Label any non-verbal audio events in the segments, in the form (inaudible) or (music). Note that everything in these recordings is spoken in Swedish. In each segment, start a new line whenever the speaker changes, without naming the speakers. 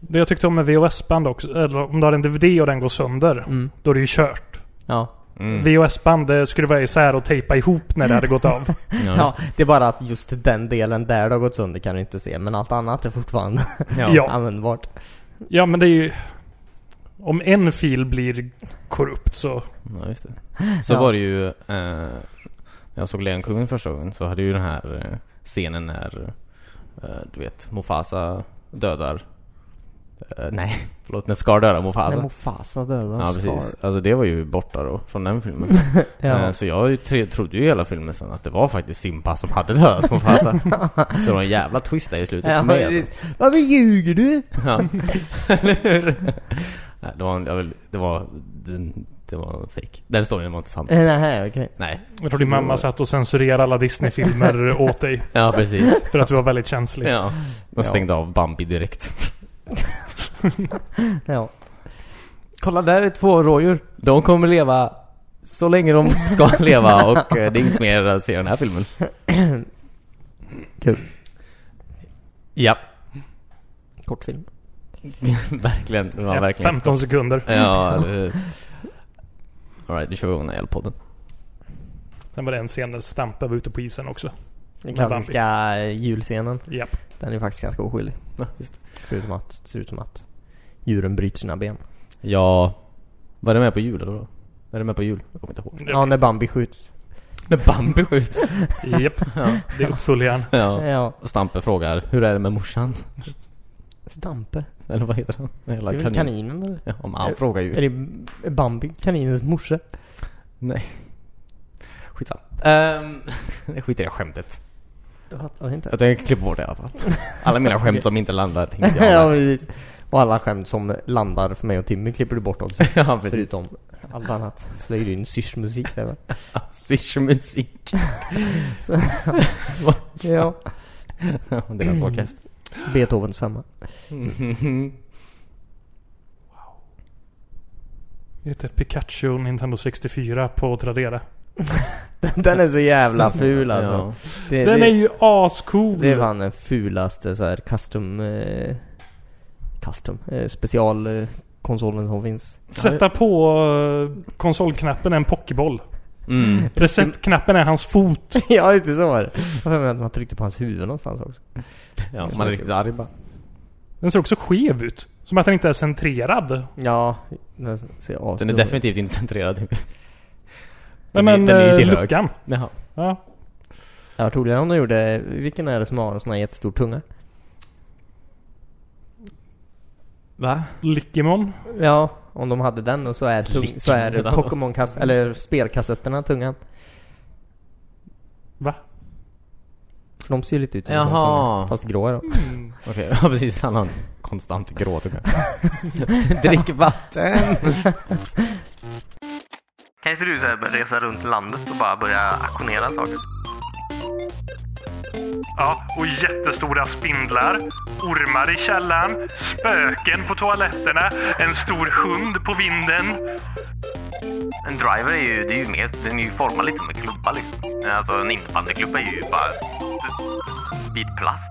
Det jag tyckte om med VHS-band också, eller om du har en DVD och den går sönder,
Mm.
då är det ju kört.
Ja.
Mm.
VHS-band det skruvar jag isär och tejpa ihop när det hade gått
(laughs)
av.
Ja,
Ja, det är bara att just den delen där det har gått sönder kan du inte se, men allt annat är fortfarande
ja.
ja.
(laughs) användbart.
Ja, men det är ju... Om en fil blir korrupt så...
Ja, just det. Så
Ja.
var det ju... Eh, när jag såg Lejonkungen första gången så hade ju den här eh, scenen när... Eh, du vet, Mufasa dödar... Eh, nej, (laughs) förlåt. När Scar dödar Mufasa.
När Mufasa dödar
ja,
Scar.
precis. Alltså det var ju borta då, från den filmen.
(laughs) Ja.
Eh, så jag ju tre, trodde ju hela filmen sen att det var faktiskt Simpa som hade
(laughs)
dödat Mufasa. så det var en jävla twist där i slutet
Ja,
för mig alltså.
precis. Varför ljuger (laughs) du?
Ja. (laughs) Eller hur? Nej, det var... en- jag vill- Det var... Den, det var fake. Den storyn var inte sann.
Eh, Nej, okej.
Nej.
Jag tror din
Mm.
mamma satt och censurerade alla
(laughs)
Disney-filmer åt dig.
Ja, precis.
För att du var väldigt känslig.
(laughs) Ja. De stängde av Bambi direkt.
Ja.
Kolla, där är två rådjur. De kommer leva så länge de ska (laughs) leva och eh, det är inget mer att se i den här (clears throat) filmen.
Kul.
Ja,
Kortfilm.
(laughs) verkligen. Det var
Ja,
verkligen
15 sekunder.
Ja, eller hur? Alright, då kör vi igång den här elpodden.
Sen var det en scen där Stampa var ute på isen också.
Den klassiska eh, julscenen.
Japp.
Den är faktiskt ganska oskyldig.
Ja, just.
Förutom att, ser ut som att djuren bryter sina ben.
ja, var det med på jul eller då? Var det med på jul? Jag kommer inte ihåg.
Ja, när Bambi skjuts.
När Bambi skjuts.
(laughs)
Japp. Det är uppföljaren.
ja.
Ja.
Eh, Stampe frågar, hur är det med morsan? (laughs)
Stampe.
Eller vad heter han? Den
Det
jävla
är väl kaninen eller?
Ja, men han frågar ju.
Är det Bambi? Kaninens morsa?
Skitsamma. (laughs) Um, skit i det skämtet.
Jag fattar inte.
Jag tänker klippa bort det i alla fall. Alla mina skämt som inte landar tänkte
(laughs)
jag.
ja,
med.
precis. Och alla skämt som landar för mig och Timmy klipper du bort också.
(laughs) ja, precis.
Förutom allt annat. Slänger du in syrsmusik där va?
Sishmusik.
Ja.
Deras orkester.
Beethovens femma.
Mhm.
Det heter Pikachu Nintendo 64 på Tradera.
(laughs) Den är så jävla ful alltså.
Ja.
Det,
Den
det,
är ju ascool!
det är fan den fulaste så här custom... Eh, custom? Eh, specialkonsolen som finns.
Sätta på eh, konsolknappen en pokéboll.
Mm.
Presentknappen är hans fot.
(laughs) ja just det, så var det. Jag har för mig att man tryckte på hans huvud någonstans också.
Ja, man är riktigt arg bara.
Den ser också skev ut. Som att den inte är centrerad.
Ja, den ser asdum
Den är definitivt inte centrerad.
Nej
Den är-
men
den är ju
eh,
till hög.
luckan.
Jaha.
Ja.
Det var roligare om de gjorde... Vilken är det som har en sån här jättestor tunga?
Va?
Lickimon.
Ja, om de hade den och så är, tung,
Klick
så är
med alltså.
Pokémon kass eller spelkassetterna tungan.
Va?
För de ser ju lite ut som en sån
Jaha.
tunga, fast grå är de.
Okej, (laughs) ja precis. Han har en konstant grå tunga. (laughs) Drick vatten!
Kan inte du så här resa runt landet och bara börja auktionera saker?
Ja, och jättestora spindlar, ormar i källaren, spöken på toaletterna, en stor hund på vinden.
En driver är ju, det är ju mer, den är ju formad lite som en klubba liksom. Alltså en innebandyklubba är ju bara en bit plast.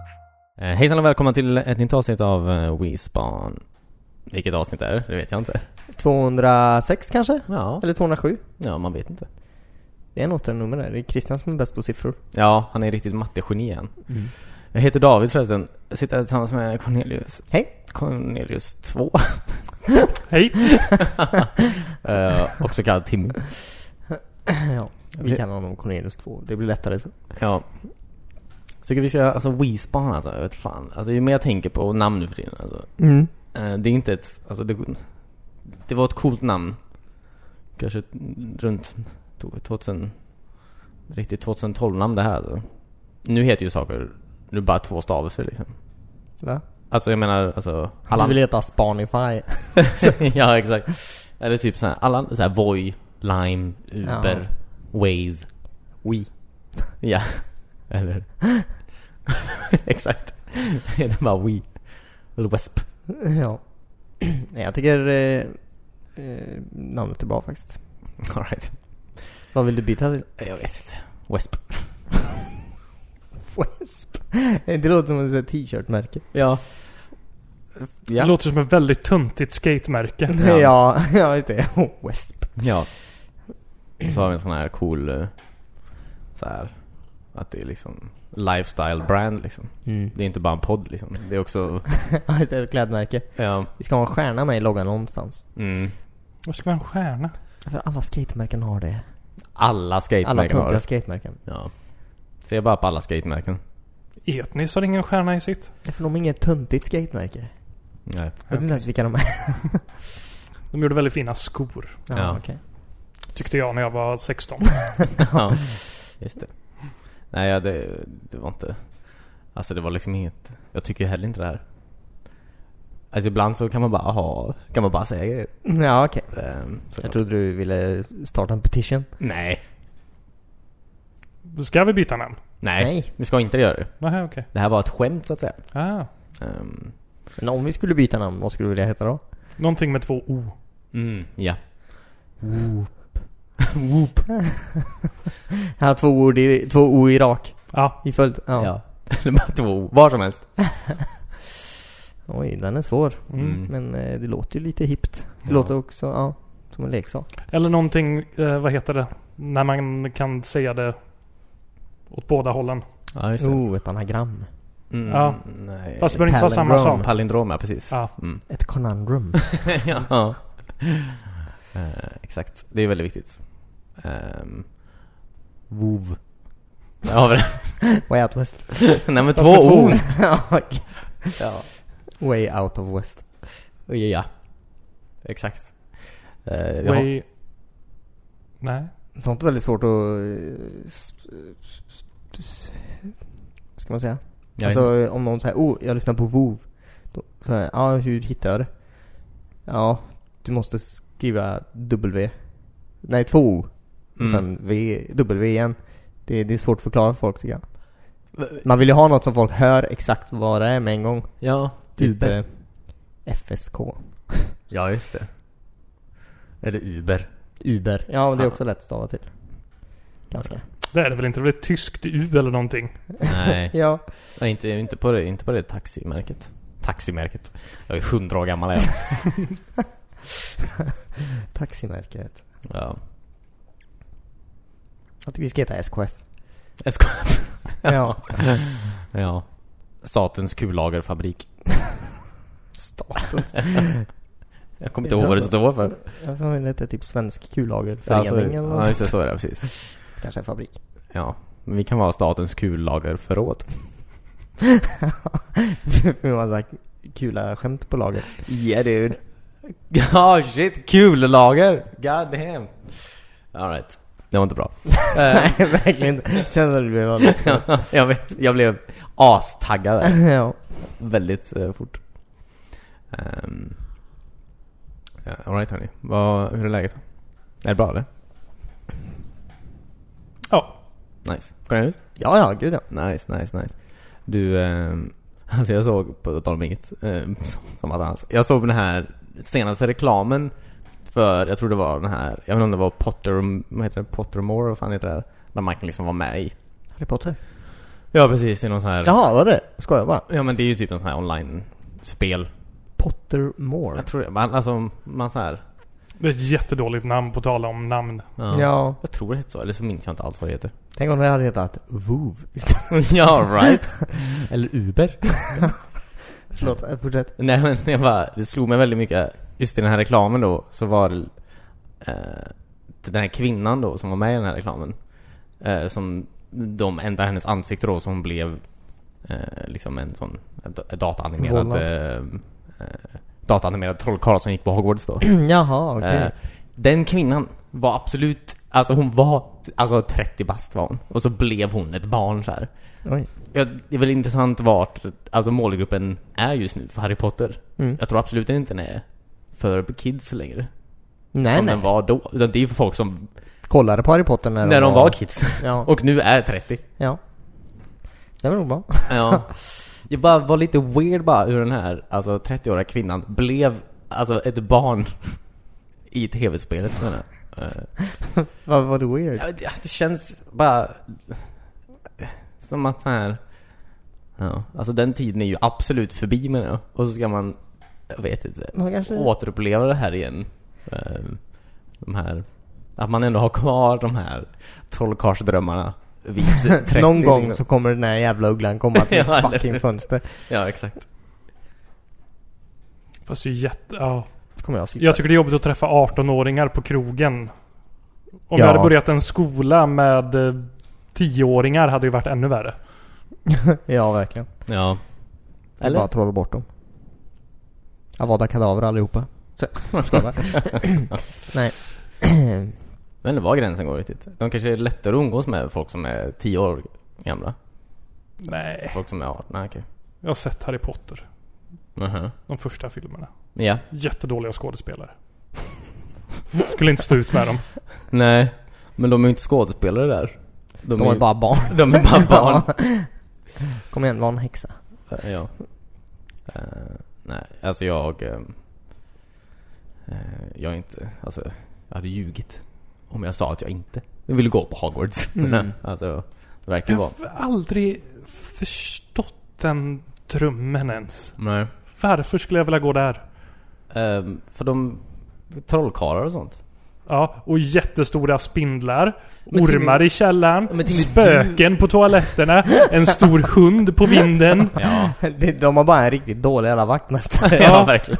Eh, Hejsan och välkomna till ett nytt avsnitt av eh, WeSpan. Vilket avsnitt är det? Det vet jag inte.
206 kanske?
Ja,
Eller 207?
ja man vet inte.
Det är något av nummer där. Det är Christian som är bäst på siffror.
Ja, han är riktigt mattegeni igen. Jag heter David förresten. Jag sitter här tillsammans med Cornelius.
Hej!
Cornelius 2.
Hej!
(laughs) Eh, också kallad Timmy.
Ja, vi
Det-
kallar honom Cornelius 2. Det blir lättare så.
Ja. Jag tycker vi ska, alltså WeSpan alltså, jag vet fan. Alltså ju mer jag tänker på namn nu för tiden alltså.
Mm.
Eh, Det är inte ett, alltså det, det var ett coolt namn. Kanske ett- runt to- 2000, riktigt 2012 namn det här alltså. Nu heter ju saker, nu bara två stavelser liksom.
Va?
Alltså jag menar, alltså
Du vill
Allan.
heta Spanify?
(laughs) ja exakt. Eller typ såhär, Allan, såhär Voi, Lime, Uber, Waze.
Oui.
Ja. Eller (laughs) Exakt. Det heter bara We. Eller Wesp.
Ja. (clears throat) Nej, jag tycker eh, eh, namnet är bra faktiskt.
Alright.
Vad vill du byta till? (laughs)
Jag vet inte. Wesp.
Wasp. Det låter som ett sånt här t-shirt-märke.
Ja.
Det
Ja.
låter som ett väldigt tuntigt skatemärke.
Ja, (laughs) ja, just det. (laughs) Wesp.
ja. Och så har vi en sån här cool... eh, Så här, att det är liksom lifestyle brand liksom.
Mm.
Det är inte bara en podd liksom. Det är också...
(laughs) Ja, just det. Ett klädmärke.
(laughs) Ja.
Vi ska ha en stjärna med i loggan någonstans.
Mm.
Vad ska vara en stjärna?
För alla skatemärken har det.
Alla
Alla
skatemärken har
tunga
det.
skatemärken.
Ja. Se bara på alla skatemärken.
Etnis har ingen stjärna i sitt.
Ja, För de är inget töntigt skatemärke.
Nej.
Jag vet inte ens vilka de är.
De gjorde väldigt fina skor.
Ja,
Ja.
okej.
Tyckte jag när jag var 16.
(laughs) ja. Just det. Nej, ja, det, det var inte... Alltså det var liksom inget... Jag tycker ju heller inte det här. Alltså ibland så kan man bara ha... Kan man bara säga grejer.
Ja, okej.
Ehm, så-
Jag trodde du ville starta en petition.
Nej.
Ska vi byta namn?
Nej.
Nej.
Vi ska inte göra det.
Nähä, okej.
Det här var ett skämt så att säga.
Ah.
Ehm,
Men om vi skulle byta namn, vad skulle du vilja heta
(laughs)
då?
Någonting med två O.
mm, ja.
(laughs) Jag har två, ord i, två O i rak
Ja.
i följd. Ja.
Ja. (laughs) Eller bara två Var som helst.
Oj, den är svår.
Mm.
Mm.
Men eh, det låter ju lite hippt. Det
Ja.
låter också, ja, som en leksak.
Eller någonting, eh, vad heter det? När man kan säga det åt båda
Eh,
hållen.
Ja, just det.
Oh, ett anagram.
Mm,
Ja.
Nej.
Fast det behöver inte vara samma
Palindrom.
sak. Ah,
Palindrom, ja precis.
Ja.
Mm.
Ett konandrum.
ja. Eh, exakt. Det är väldigt viktigt. Um, Vov. Där har vi det.
(laughs) Way out west.
(laughs) Nej men
Fast med
två
två
ord.
(laughs) Ja, okej.
Ja.
Way out of west.
ja. Exakt. Eh, jag har,
Way... Nej.
Sånt är väldigt svårt att... eh, s- s- s- Vad ska man säga?
jag
alltså om någon säger oh, jag lyssnar på WoW. Då säger jag, ja hur hittar jag det? Ja, du måste skriva W. Nej, två O. Och
Mm.
sen v, W igen. Det, det är svårt att förklara för folk tycker jag. Man vill ju ha något som folk hör exakt vad det är med en gång.
ja,
Typ
Uber.
eh, FSK.
Ja, just det. Eller Uber.
Uber. Ja, men det är
Ja.
också lätt att stava till. Ganska.
Det är det väl inte? Det är väl ett tyskt U eller någonting?
Nej.
(laughs) Ja.
Nej, inte, inte, på det, inte på det taximärket. Taximärket. Jag är hundra år gammal är jag.
Taximärket.
Ja.
Jag tycker vi ska heta SKF.
Jag ska- (laughs)
Ja.
ja. Statens kullagerfabrik.
Statens.
Jag kommer inte ihåg vad det står för.
Jag får väl heta typ Svensk
Ja,
kullagerförening
så,
eller
Alltså, ja,
något.
just det, så är det precis.
Kanske en fabrik. (laughs)
Ja. Men vi kan vara statens kullagerförråd.
Vi har sagt kula skämt på
(laughs)
lager.
Yeah dude. Ja Ah, shit, kullager! God damn. Alright. Det var inte bra. Eh, (laughs)
Nej, verkligen inte. Känns som det blev alldeles för-
jag vet, jag blev astaggad (laughs) där.
ja.
väldigt eh, fort. Um, Alright hörni, Vad, hur är läget? Är det bra eller?
Ja.
Nice. Går det ut?
ja, ja, gud ja.
Nice, nice, nice. Du, ehm, (laughs) alltså jag såg, på tal om inget, ehm, (laughs) som- som att annars. Jag såg den här senaste reklamen för, jag tror det var den här, jag vet inte om det var Potter, vad heter det? Pottermore, vad fan heter det? Här, där man kan liksom vara med i.
Harry Potter.
Ja precis, det är någon sån här,
Jaha, var det Skojar bara.
ja men det är ju typ någon sån här online-spel.
Pottermore.
Jag tror det, man, alltså man så här.
Det är ett jättedåligt namn på tala om namn.
Ja.
Jag tror det heter så, eller så minns jag inte alls vad
(laughs)
det heter.
Tänk om det hade hetat Vov istället.
ja, right. Eller Uber.
(laughs) Förlåt, eh, fortsätt. (clears throat)
Nej men jag bara, det slog mig väldigt mycket. Just i den här reklamen då, så var det eh, den här kvinnan då som var med i den här reklamen. Eh, som de ändrade hennes ansikte då, så hon blev eh, liksom en sån eh, dataanimerad...
Vållad.
Eh, eh, dataanimerad trollkarl som gick på Hogwarts då.
Jaha, okej.
Eh, Den kvinnan var absolut, alltså hon var, alltså 30 bast var hon. Och så blev hon ett barn så här.
Oj.
Ja, det är väl intressant vart alltså målgruppen är just nu för Harry Potter.
Mm.
Jag tror absolut inte den är för kids längre.
Nej,
som
nej.
den var då. Utan det är ju för folk som,
Kollade på Harry Potter när,
när de var kids.
Ja.
Och nu är 30.
ja. Det var nog bra.
Ja. Det bara var lite weird bara hur den här, alltså 30-åriga kvinnan blev, alltså ett barn i tv-spelet menar jag. Eh,
Vad var det weird?
Ja, det- Det känns bara som att så här. Ja, alltså den tiden är ju absolut förbi med det. Och så ska man Jag vet inte.
Man kanske...
Återuppleva det här igen. Eh, De här... Att man ändå har kvar de här trollkarlsdrömmarna. Vid
(laughs)
30
Någon gång
liksom.
så kommer den här jävla ugglan
(laughs)
komma till
Ja,
ett
eller
fucking
hur?
fönster.
Ja, exakt.
Fast det är jätte... Ja.
Då kommer jag sitta.
Jag tycker det är jobbigt att träffa 18-åringar på krogen. Om
Ja.
jag hade börjat en skola med eh, 10-åringar hade ju varit ännu värre.
Ja, verkligen.
Ja.
Eller? Bara trolla bort dem. Avada Kedavra allihopa. Så, ska
(laughs)
jag Nej.
Jag vet inte var gränsen går riktigt. De kanske är lättare att umgås med folk som är 10 år gamla.
Nej.
Folk som är 18, nej okej.
Jag har sett Harry Potter.
Mhm.
De första filmerna.
Ja.
Jättedåliga skådespelare. Skulle inte stå ut med dem.
Nej. Men de är ju inte skådespelare där.
De är bara barn.
de är (laughs)
(laughs)
bara barn.
Kom igen, var en häxa.
Eh, Ja. Eh, nej, alltså jag... eh, eh, jag är inte... Alltså, jag hade ljugit om jag sa att jag inte ville gå på Hogwarts.
Mm.
Nej, (laughs) alltså, det verkar ju
(laughs) Jag
vara...
har aldrig förstått den drömmen ens.
Nej.
Varför skulle jag vilja gå där?
Ehm, för de... Trollkarlar och sånt.
Ja, och jättestora spindlar.
Men
ormar i källaren.
Men Timmy, du-
spöken på toaletterna. En stor hund på vinden.
(laughs) Ja,
(laughs) Det- De har bara en riktigt dålig jävla vaktmästare.
ja.
Ja.
verkligen.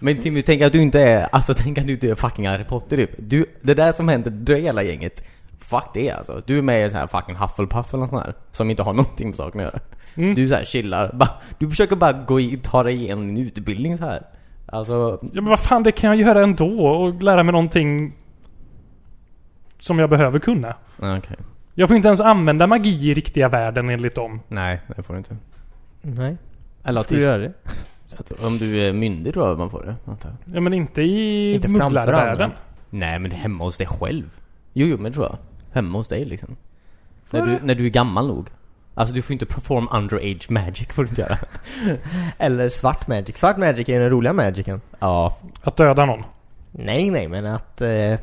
Men Timmy, tänk att du inte är... Alltså tänk att du inte är fucking Harry Potter typ. Du, det där som händer, det hela gänget. Fuck det alltså. Du är med i en sån här fucking Hufflepuff eller nåt sånt här. Som inte har någonting med saken att göra.
Mm.
Du så här chillar. Bara, du försöker bara gå i, ta dig igenom din utbildning så här. Alltså,
Ja, men vad fan, det kan jag göra ändå och lära mig någonting som jag behöver kunna.
nej, okej.
Jag får inte ens använda magi i riktiga världen enligt dem.
Nej, det får du inte.
(laughs) Nej.
Eller
Ska du
autist.
göra det?
Så att Om du är myndig då övar man på det, antar jag.
Ja, men inte i
Inte framför
mugglarvärlden.
andra.
Nej, men hemma hos dig själv. Jo, jo, men det tror jag. Hemma hos dig liksom. När
Får
du,
det?
när du är gammal nog. Alltså du får inte perform underage magic, får du inte göra.
Eller svart magic. Svart magic är ju den roliga magicen.
(laughs) Ja.
Att döda någon.
Nej, nej, men att eh,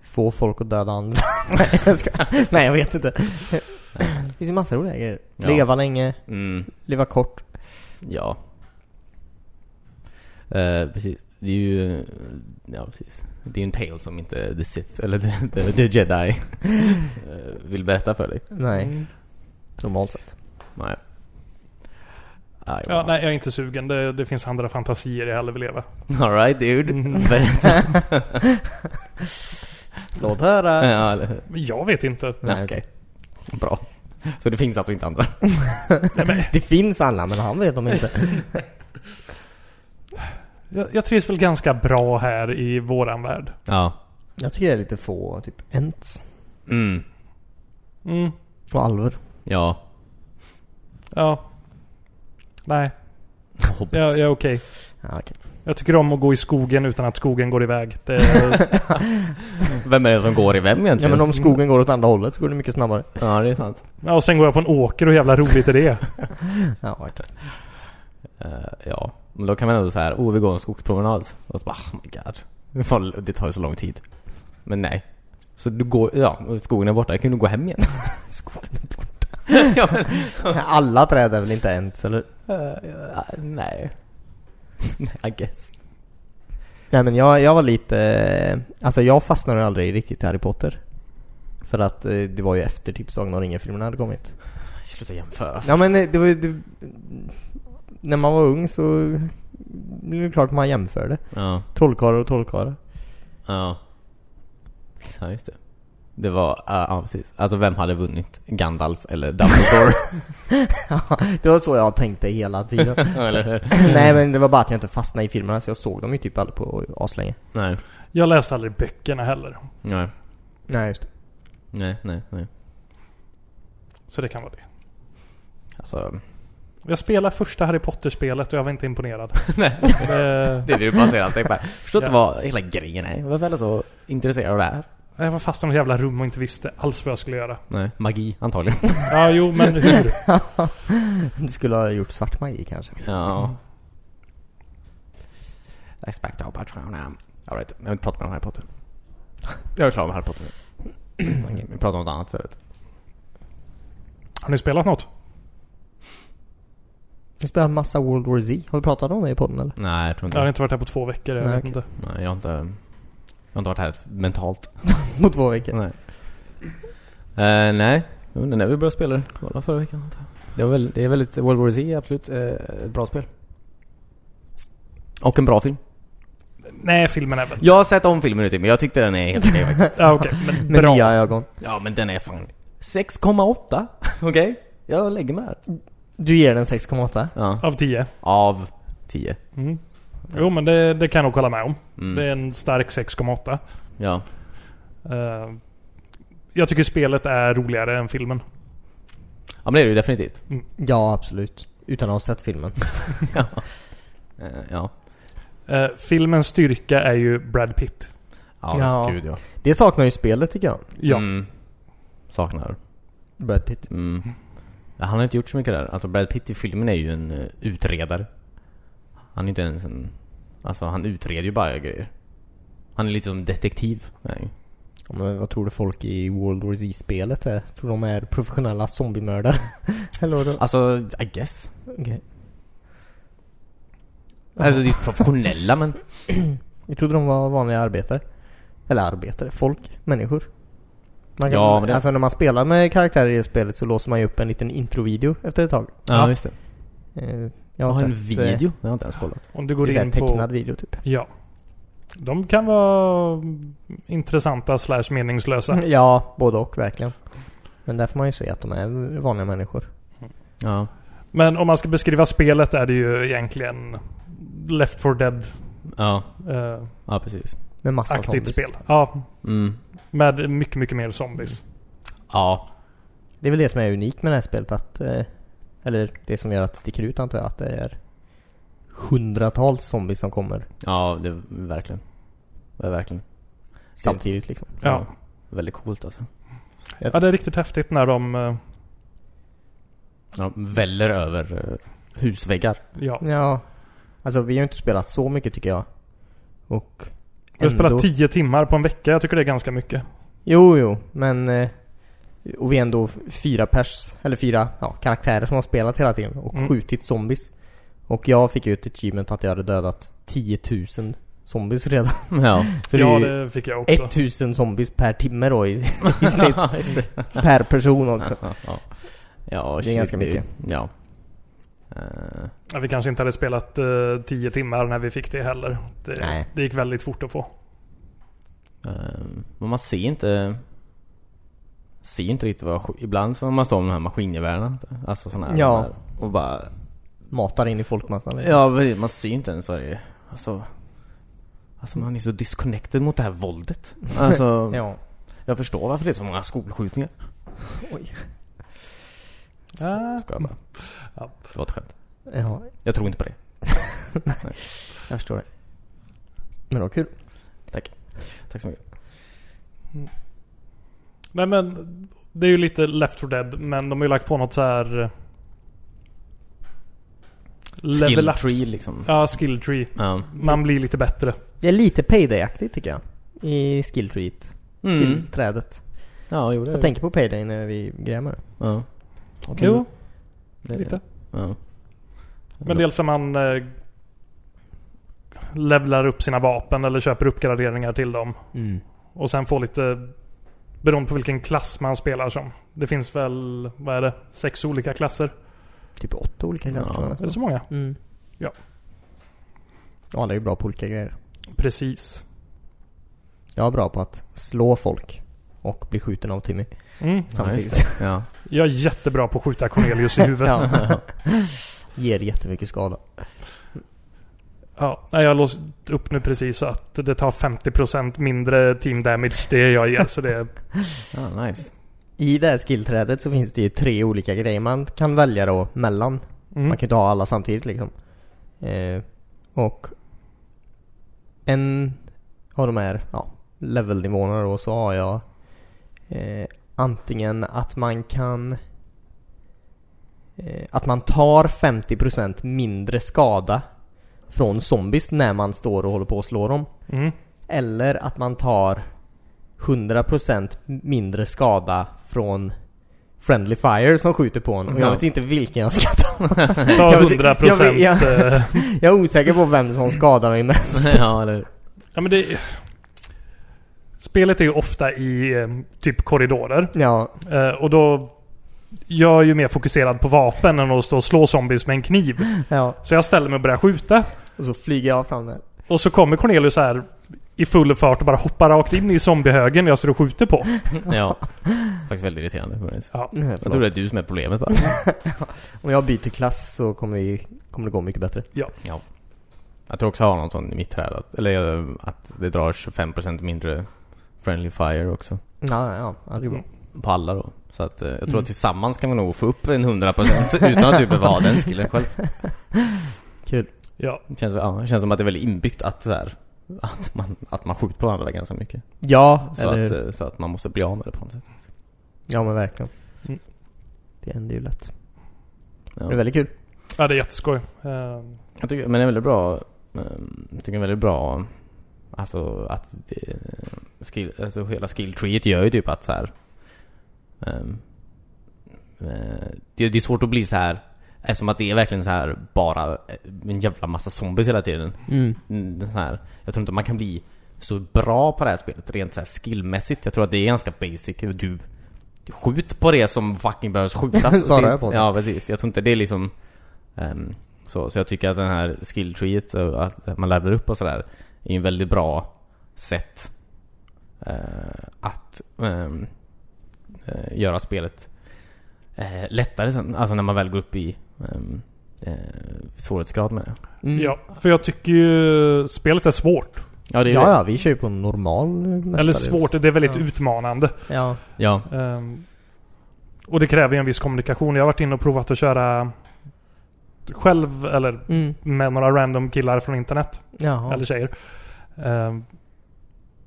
få folk att döda andra. (laughs) nej, jag skojar. nej, jag vet inte. Det finns ju massa roliga grejer.
Ja.
Leva länge,
Mm,
leva kort.
ja. Eh, precis. Det är ju... Ja, precis. Det är ju en tale som inte the Sith, eller (laughs) the, the, the Jedi, eh, vill berätta för dig.
Nej, normalt sett.
Nej. Ah,
Ja, nej, jag är inte sugen. Det, det finns andra fantasier jag hellre vill leva.
Alright (laughs) dude.
Mm.
Berätta.
Låt höra.
ja, eller hur?
Men jag vet inte.
Nej,
Nej, okej. Bra. Så det finns alltså inte andra?
(laughs) Det finns alla, men han vet dem inte.
Jag, jag trivs väl ganska bra här i våran värld.
Ja.
Jag tycker det är lite få, typ Ents
Mm.
Mm,
och Alver.
Ja.
ja. Nej,
Hobbits.
jag, jag är okej.
Ja, okej.
Jag tycker om att gå i skogen utan att skogen går iväg. Det,
Vem är det som går i vem
ja,
egentligen?
men om skogen går åt andra hållet så går det mycket snabbare.
Ja, det är sant.
ja, och sen går jag på en åker och jävla roligt är det.
Ja, verkligen.
Eh, ja. Men då kan man ändå så här, oh vi går en skogspromenad. Och så bara, oh my god. Det får- Det tar ju så lång tid. Men nej. Så du går, ja, skogen är borta. Jag kan du gå hem igen. (laughs)
Skogen är borta.
ja, men,
(laughs) Alla träd är väl inte Ents, eller?
eh, ja, nej. I guess.
Nej men jag, jag var lite, eh, alltså jag fastnade aldrig riktigt i Harry Potter. För att eh, det var ju efter typ Sagan om ringen-filmerna hade kommit.
Sluta jämföra.
Ja men eh, det var ju- det, När man var ung så blev det klart man jämförde.
Ja.
Trollkarlar och trollkarlar.
Ja. Ja, just det. Det var, ja ja, precis. Alltså vem hade vunnit? Gandalf eller (laughs) Dumbledore?
det var så jag tänkte hela tiden.
eller
(laughs)
hur?
Nej men det var bara att jag inte fastnade i filmerna så jag såg dem ju typ aldrig på aslänge.
Nej.
Jag läste aldrig böckerna heller.
Nej.
Nej just det.
Nej, nej, nej.
Så det kan vara det.
Alltså,
Jag spelade första Harry Potter-spelet och jag var inte imponerad.
nej.
Eh,
Det är det du baserar (laughs) allting på. Förstår inte
Ja.
vad hela grejen är. Varför är alla så intresserade av det här?
jag var fast i något jävla rum och inte visste alls vad jag skulle göra.
Nej. Magi, antagligen.
Ja, jo, men
(laughs)
hur?
Du skulle ha gjort svart magi kanske.
Ja. Expect our patrona. Alright, jag vill inte prata mer om Harry Potter. (laughs) Jag är klar med Harry Potter. (clears throat) Okej, Vi pratar om något annat istället.
Har ni spelat något?
Ni spelar massa World War Z. Har vi pratat om det i podden eller?
Nej, jag tror inte
Jag har inte varit här på två veckor. Jag
Nej,
vet
okej.
inte.
Nej, jag har inte... Jag har inte varit här mentalt.
Mot två veckor.
Nej. Eh, nej, jag undrar när vi började spela det. Det var förra veckan antar jag. det, var väl, det är väldigt... World War Z är absolut eh, ett bra spel. Och en bra film.
Nej, filmen är
(laughs)
väl...
Jag har sett om filmen nu men jag tyckte den är helt okej faktiskt.
Ja, okej. Men
Med
bra.
nya ögon.
Ja men den är fan 6,8 (laughs) Okej? Jag lägger mig här
Du ger den 6,8.
ja.
Av tio.
Av 10
Mm. Jo, men det, det kan jag nog hålla med om.
mm.
Det är en stark 6,8.
Ja,
Eh, jag tycker spelet är roligare än filmen.
ja men det är det ju definitivt
Ja, absolut. Utan att ha sett filmen.
Eh, Ja
Eh, filmens styrka är ju Brad Pitt.
Ja,
Ja.
gud ja
Det saknar ju spelet tycker jag.
Ja.
mm. Saknar
Brad Pitt.
mm. ja, Han har inte gjort så mycket där Alltså Brad Pitt i filmen är ju en eh, utredare Han är inte ens en Alltså han utreder ju bara grejer Han är lite som detektiv Nej
Ja, men vad tror du folk i World War Z-spelet är? Tror de är professionella zombiemördare? (laughs) Eller vadå?
Alltså, I guess
Okej.
Alltså det är professionella men
Jag trodde de var vanliga arbetare. Eller arbetare. Folk. Människor. Man kan,
Ja, men det-
Alltså när man spelar med karaktärer i det spelet så låser man ju upp en liten introvideo efter ett tag.
Ja, just det
Eh, Jag
Jag
har
har
sett,
en
eh,
video, det har jag inte ens kollat
Om du
det
går
är så här
in
tecknad
på...
video typ.
Ja. De kan vara intressanta slash
Mm.
meningslösa.
Ja, både och verkligen. Men där får man ju se att de är vanliga människor.
Ja
Men om man ska beskriva spelet är det ju egentligen Left 4
Ja,
Dead-aktigt
ja precis.
Med massa zombies.
spel. Ja,
Mm.
med mycket, mycket mer zombies.
Mm.
Ja.
Det är väl det som är unikt med det här spelet att... eh, Eller det som gör att det sticker ut antar jag, att det är hundratals zombies som kommer
Ja, det verkligen. Det är verkligen.
samtidigt liksom.
Ja.
Väldigt coolt alltså.
ja, det är riktigt häftigt när de... eh,
När de väller över eh, husväggar.
Ja.
Ja. Alltså vi har ju inte spelat så mycket tycker jag. Och...
Jag har
ändå-
spelat 10 timmar på en vecka. Jag tycker det är ganska mycket.
Jo, jo, men... eh, Och vi är ändå fyra pers, eller fyra ja, karaktärer som har spelat hela tiden och
Mm.
skjutit zombies. Och jag fick ju ett achievement att jag hade dödat 10 000 zombies (laughs) redan.
(laughs) Ja.
Så det
ja,
är ju
det fick jag också.
1000 zombies per timme då i, (laughs) i snitt. per person också.
ja. Ja,
Det är ganska mycket.
Ja. Eh,
Ja, vi kanske inte hade spelat eh, 10 timmar när vi fick det heller. Det,
Nej.
det gick väldigt fort att få.
eh, men man ser inte... Ser inte riktigt vad... sk- Ibland så när man står med de här maskingevärerna. Alltså sådana här.
Ja.
där, Och bara...
Matar in i folkmassan. liksom.
Ja, precis. man ser inte ens vad det är. Alltså... Alltså man är så disconnected mot det här våldet. Alltså...
ja.
Jag förstår varför det är så många skolskjutningar.
Ja,
Ska jag bara.
Ah. Ja.
Det var ett skämt.
ja,
Jag tror inte på det.
jag förstår det. Men det var kul.
Tack så mycket.
Nej men, det är ju lite Left 4 Dead, men de har ju lagt på något så här... eh,
Skill
up.
tree liksom.
Ja, skill tree.
Ja.
Man blir lite bättre.
Det är lite payday-aktigt tycker jag. I skilltreet.
Mm.
Skillträdet.
Ja, jo det
Mm.
Jag tänker på payday när vi gräver med det.
Ja.
Jo,
det-
lite.
Ja.
Men dels som man eh, levlar upp sina vapen eller köper uppgraderingar till dem. Och sen får lite... Beroende på vilken klass man spelar som. Det finns väl, vad är det? Sex olika klasser?
Typ åtta olika klasser
Ja.
tror
Är
jag
det
nästan.
så många?
Mm.
Ja.
Och alla är ju bra på olika grejer.
Precis.
Jag är bra på att slå folk. Och bli skjuten av Timmy.
Mm.
Samtidigt.
(laughs) Ja, just det. ja.
Jag är jättebra på att skjuta Cornelius i huvudet. (laughs) ja.
ja. (laughs) Ger jättemycket skada.
nej, jag har låst upp nu precis så att det tar 50% mindre team damage det jag ger. Så det,
ja nice. (laughs)
I det här skillträdet så finns det ju tre olika grejer man kan välja då mellan.
mm.
Man kan ju inte ha alla samtidigt liksom. Eh, och en av de här ja, levelnivåerna då så har jag eh, antingen att man kan eh, att man tar 50% mindre skada från zombies när man står och håller på att slå dem.
(laughs) Mm.
Eller att man tar 100% mindre skada från Friendly Fire som skjuter på honom. Och jag
Ja.
vet inte vilken jag ska ta.
Ta
Jag vet-
100
jag
procent. eh.
vet-
Ja,
jag- Jag är osäker på vem som skadar mig mest.
ja, eller
men det... Spelet är ju ofta i eh, typ korridorer.
Ja,
Eh, Och då... Jag är ju mer fokuserad på vapen än att stå och slå zombies med en kniv.
ja.
Så jag ställer mig och börjar skjuta.
Och så flyger jag fram där.
Och så kommer Cornelius här i full fart och bara hoppar rakt in i zombiehögen jag står och skjuter på.
Ja. Faktiskt väldigt irriterande. faktiskt.
Ja.
Nej,
Jag
förlåt.
tror det är du som är problemet bara.
Om jag byter klass så kommer, vi, kommer det gå mycket bättre.
Jag tror också jag har någon sån i mitt träd. Att, eller eh, att det drar 25% mindre friendly fire också.
Ja, ja, ja det är bra.
På alla då. Så att eh, jag tror
Mm.
att tillsammans kan vi nog få upp en 100% utan att du behöver ha den skillen själv.
Kul.
Ja.
Det känns, ja, det känns som att det är väldigt inbyggt att så här, att man, att man skjuter på varandra ganska mycket.
Ja,
Så
eller
att,
hur?
eh, så att man måste bli av med det på något sätt.
Ja men verkligen.
Mm.
Det händer ju lätt.
Ja.
Det är väldigt kul.
ja, det är jätteskoj. Eh,
Jag tycker, men det är väldigt bra, eh, jag tycker det är väldigt bra, alltså att det, skill, alltså hela skilltreet gör ju typ att så här. ehm, eh, det, det är svårt att bli så här eftersom att det är verkligen så här bara eh, en jävla massa zombies hela tiden. Mm, den här, jag tror inte man kan bli så bra på det här spelet rent så här skillmässigt. Jag tror att det är ganska basic. Du skjut på det som fucking behövs
(laughs)
skjutas.
Sa
Det-
det här på sig.
Ja, precis. Jag tror inte det är liksom... ehm, så, så jag tycker att den här skill treet, eh, att man laddar upp och sådär, är ju en väldigt bra sätt eh, att ehm, eh, göra spelet eh, lättare sen. Alltså när man väl går upp i ehm, eh, svårighetsgrad med det.
Mm.
Ja, för jag tycker ju spelet är svårt.
Ja, det är ju
Ja,
det.
ja, vi kör ju på normal mestadels.
Eller svårt, det är väldigt
Ja.
utmanande.
Ja.
Ja.
Eh, Och det kräver ju en viss kommunikation. Jag har varit inne och provat att köra själv eller
Mm.
med några random killar från internet.
Jaha.
Eller tjejer. Eh,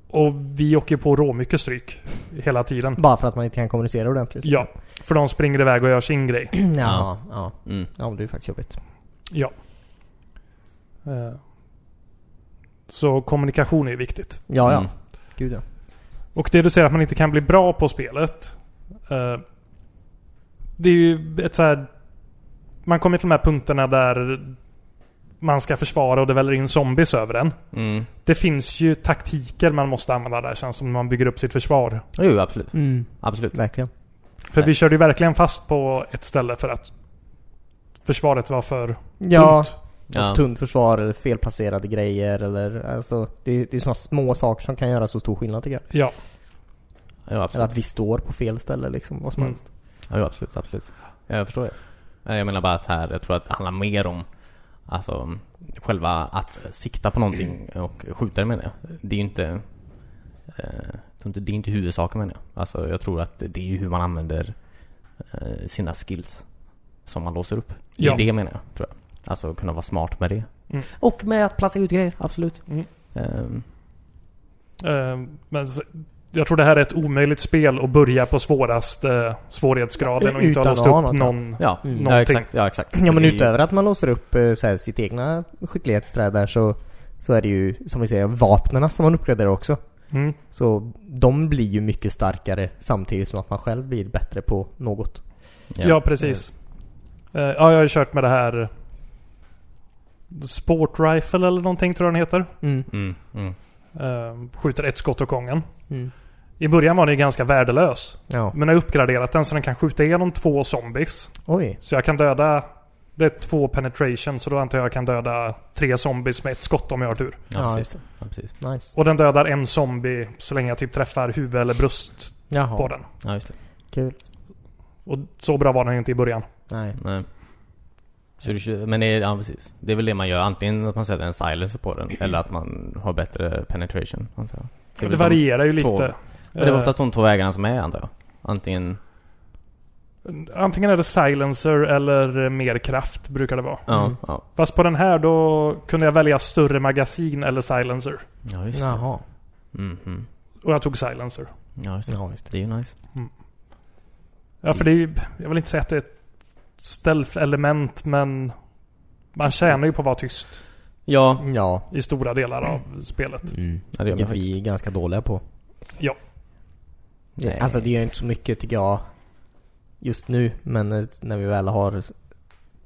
Och vi åker på råmycket stryk hela tiden.
Bara för att man inte kan kommunicera ordentligt.
Ja, för de springer iväg och gör sin grej.
ja.
Ja.
(clears throat) Ja, ja.
Mm.
men det är faktiskt jobbigt.
Eh, Så kommunikation är viktigt.
Ja, ja.
Mm.
Gud ja.
Och det du säger att man inte kan bli bra på spelet. eh, Det är ju ett så här... Man kommer till de här punkterna där man ska försvara och det väller in zombies över en.
Mm.
Det finns ju taktiker man måste använda där känns som när man bygger upp sitt försvar.
Jo, absolut.
Mm.
Absolut.
Verkligen.
För vi körde ju verkligen fast på ett ställe för att försvaret var för
Mm.
Ja.
tungt.
Ja.
Tunt Alltså, försvar eller felplacerade grejer eller alltså det, det är sådana små saker som kan göra så stor skillnad tycker jag.
Ja,
Jo,
Eller
absolut.
att vi står på fel ställe liksom. Vad som
Mm.
helst.
Ja, jo, absolut, absolut. Ja, jag förstår det. Ja, Eh, Jag menar bara att här, jag tror att det handlar mer om alltså, själva att sikta på någonting och skjuta det menar jag. Det är ju inte, eh, jag tror inte, det är inte huvudsaken menar jag. Alltså, jag tror att det är ju hur man använder eh, sina skills som man låser upp. Det är
Ja.
det menar jag, tror jag. Alltså kunna vara smart med det.
Mm.
Och med att placera ut grejer, absolut.
Mm.
Ehm,
eh, men s- jag tror det här är ett omöjligt spel att börja på svåraste svårighetsgraden och inte ha
Utan
låst
att ha
upp
något, ja.
någon.
ja,
Mm.
ja,
Någonting.
exakt. Ja, exakt.
Ja men
Det är ju-
utöver att man låser upp eh, så här, sitt egna skicklighetsträd där så, så är det ju som vi säger vapnena som man uppgraderar också.
Mm.
Så de blir ju mycket starkare samtidigt som att man själv blir bättre på något.
Ja, precis. Eh, ja, jag har ju kört med det här... Sport Rifle eller någonting tror jag den heter.
Mm.
Mm, mm.
Eh, skjuter ett skott åt gången. I början var den ju ganska värdelös.
Ja.
Men jag har uppgraderat den så den kan skjuta igenom två zombies.
Oj.
Så jag kan döda... Det är två penetration så då antar jag jag kan döda tre zombies med ett skott om jag har tur.
Ja,
Ja,
precis.
just
Ja, precis.
Nice.
Och den dödar en zombie så länge jag typ träffar huvud eller bröst
Jaha.
på den.
Ja, just det.
Kul.
Och så bra var den inte i början.
Nej.
Nej. eh, Så du kör- Men det, är- ja, precis. det är väl det man gör. Antingen att man sätter en silencer på den eller att man har bättre penetration. Antar jag.
Det,
är väl
varierar ju lite.
två- De, det är
Eh,
oftast de två vägarna som är antar jag. Antingen...
Eh, Antingen är det silencer eller mer kraft brukar det vara.
Ja,
Mm.
ja.
Fast på den här då kunde jag välja större magasin eller silencer.
ja just det.
Jaha.
Mm, mm.
Och jag tog silencer.
Ja, just det.
Ja, just det.
Det är ju nice.
Ja, för det är ju, jag vill inte säga att det är ett stealth-element, men man tjänar ju på att vara tyst
Ja,
Ja.
i stora delar av spelet.
Mm.
ja det gör man
Vilket
faktiskt.
vi är ganska dåliga på.
Ja.
Alltså det gör inte så mycket tycker jag. just nu. Men eh, när vi väl har s-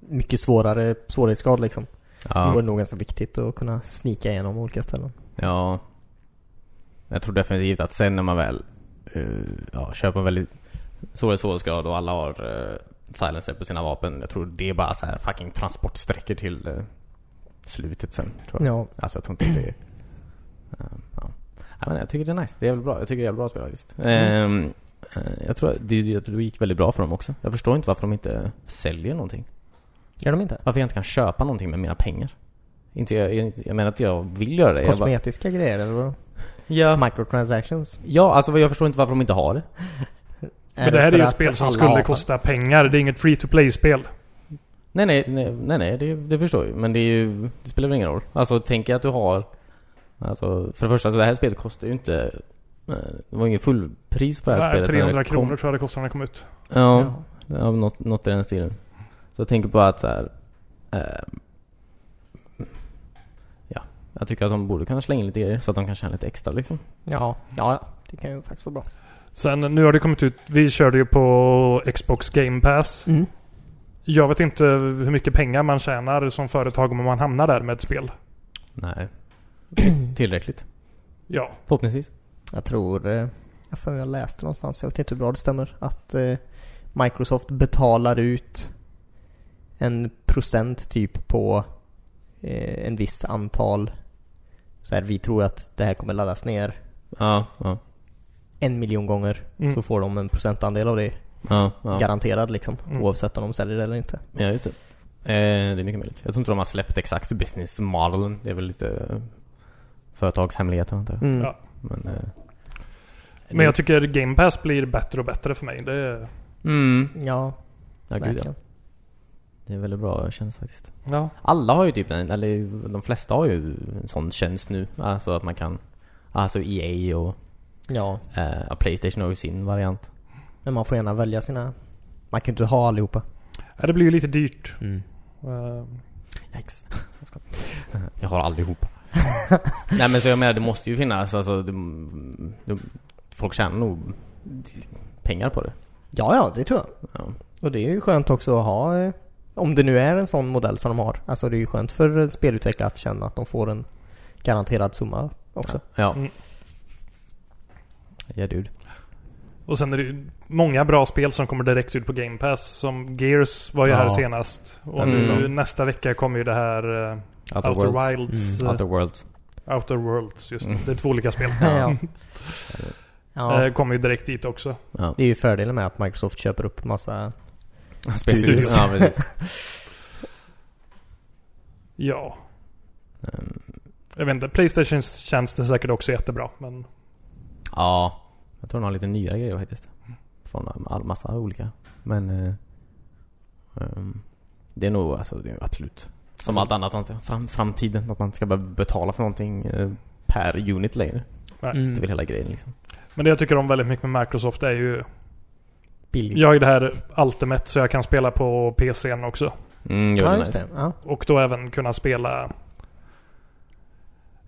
mycket svårare svårighetsgrad liksom. Då är
Ja.
det nog ganska viktigt att kunna snika igenom olika ställen.
ja. Jag tror definitivt att sen när man väl eh, ja, kör på en väldigt svår svårighetsgrad och alla har uh, silencer på sina vapen. Jag tror det är bara så här fucking transportsträckor till eh, slutet sen. Tror jag.
Ja,
Alltså jag tror inte att det är... Ehm, ja. Nej, men jag tycker det är nice. Det är väl bra. Jag tycker det är bra spel faktiskt. Ehm, eh, jag tror att det, jag tror det gick väldigt bra för dem också. Jag förstår inte varför de inte säljer någonting.
gör de inte?
Varför jag inte kan köpa någonting med mina pengar. Inte, jag, jag, jag menar att jag vill göra det. Jag bara,
Kosmetiska grejer eller vad?
ja,
Microtransactions?
ja, alltså jag förstår inte varför de inte har det.
Men det här är
för
ju ett
att
spel som
alla
skulle
hatar?
kosta pengar. Det är inget free to play-spel.
Nej, nej, nej, nej, nej det, det förstår jag ju. Men det, är ju, det spelar väl ingen roll. Alltså tänk att du har... Alltså, för det första, så det här spelet kostar ju inte... eh, Det var ingen fullpris på det här
Nej,
spelet. när det
300
kom.
kronor tror jag det kostade när det kom ut.
Ja, ja något, något i den stilen. Så jag tänker på att så här, ehm, Ja, jag tycker att de borde kunna slänga in lite grejer så att de kan tjäna lite extra liksom.
Ja, ja, ja. det kan ju faktiskt vara bra.
Sen nu har det kommit ut. Vi körde ju på Xbox Game Pass.
Mm.
Jag vet inte hur mycket pengar man tjänar som företag om man hamnar där med ett spel.
(clears throat) Nej. Tillräckligt.
Ja.
Förhoppningsvis.
Jag tror, eh, jag för mig jag läste någonstans, jag vet inte hur bra det stämmer, att eh, Microsoft betalar ut en procent typ på eh, en viss antal. Så här, vi tror att det här kommer laddas ner
Ja, ja.
en miljon gånger.
Mm.
Så får de en procentandel av det
Ja, ja.
garanterad liksom.
Mm.
Oavsett om de säljer det eller inte.
ja just det. Eh, det är mycket möjligt. Jag tror inte de har släppt exakt business modelen. Det är väl lite eh, företagshemligheter antar jag.
Ja.
Men, eh,
Men jag tycker Game Pass blir bättre och bättre för mig. Det är...
Mm.
Ja,
Ja, gud, ja.
verkligen.
Det är en väldigt bra tjänst faktiskt.
Ja.
Alla har ju typ en, eller de flesta har ju en sån tjänst nu. Alltså att man kan, alltså EA och
Ja,
eh, ja, Playstation har ju sin variant. (laughs)
men man får gärna välja sina. Man kan ju inte ha allihopa.
Ja, Det blir ju lite dyrt.
Mm.
Eh,
Yikes. Jag har (laughs) allihop. Nej men så jag menar det måste ju finnas, alltså det, det, folk tjänar nog pengar på det.
Ja, ja, det tror jag.
Ja.
Och det är ju skönt också att ha, eh, om det nu är en sån modell som de har. Alltså det är ju skönt för eh, spelutvecklare att känna att de får en garanterad summa också.
Ja.
Mm.
Ja dude.
Och sen är det ju många bra spel som kommer direkt ut på Game Pass. Som Gears var ju
Ja.
här senast. Och
Mm.
nu nästa vecka kommer ju det här eh, Outer, Wilds.
Mm.
eh,
Outer Worlds.
Outer Worlds, just det. Det är två olika spel.
Ja.
Eh,
ja.
Kommer ju direkt dit också.
(laughs)
Ja.
Det är ju fördelen med att Microsoft köper upp massa...
Specifikt. Ja, precis.
Ja.
Ehm,
Jag vet inte. Playstations tjänst är säkert också jättebra. Men
Ja, jag tror de har lite nyare grejer faktiskt. Från all massa olika. Men... Eh, ehm, det är nog alltså, det är absolut. Som allt annat, antar jag. fram, framtiden. Att man inte ska behöva betala för någonting eh, per unit längre.
Mm.
Mm.
Det är väl hela grejen liksom.
Men det jag tycker om väldigt mycket med Microsoft är ju...
Billigt.
Jag har ju det här Ultimate så jag kan spela på PCn också.
Mm, jo,
Ja,
är
just
nice.
det. Ja.
Och då även kunna spela...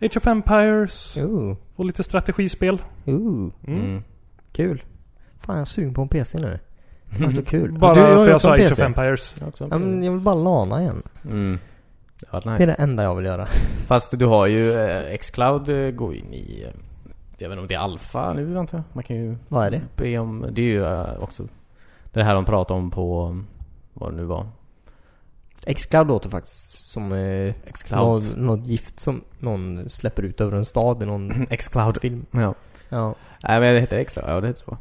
Age of Empires
Ooh.
och lite strategispel.
Ooh.
Mm.
Mm.
Kul. Fan, jag är sugen på en PC nu. Det var så kul.
Mm. Bara
Du, jag har
för
ju
jag
också
sa
en
Age of
PC.
Empires.
Jag har (laughs) också en
Ja, men jag vill bara lana igen.
Mm. Det var
Det är
nice.
det enda jag vill göra.
Fast du har ju eh, Xcloud eh, går in i... Eh, jag vet inte om det är alfa nu antar jag. Man kan ju
Vad är det?
Be om, det är ju eh, också det här de pratade om på, um, vad det nu var,
Xcloud låter faktiskt som eh,
Xcloud.
något, något gift som någon släpper ut över en stad i (clears throat) någon
Xcloud.
film.
Ja.
Ja.
Nej men det heter Xcloud, ja det heter det va?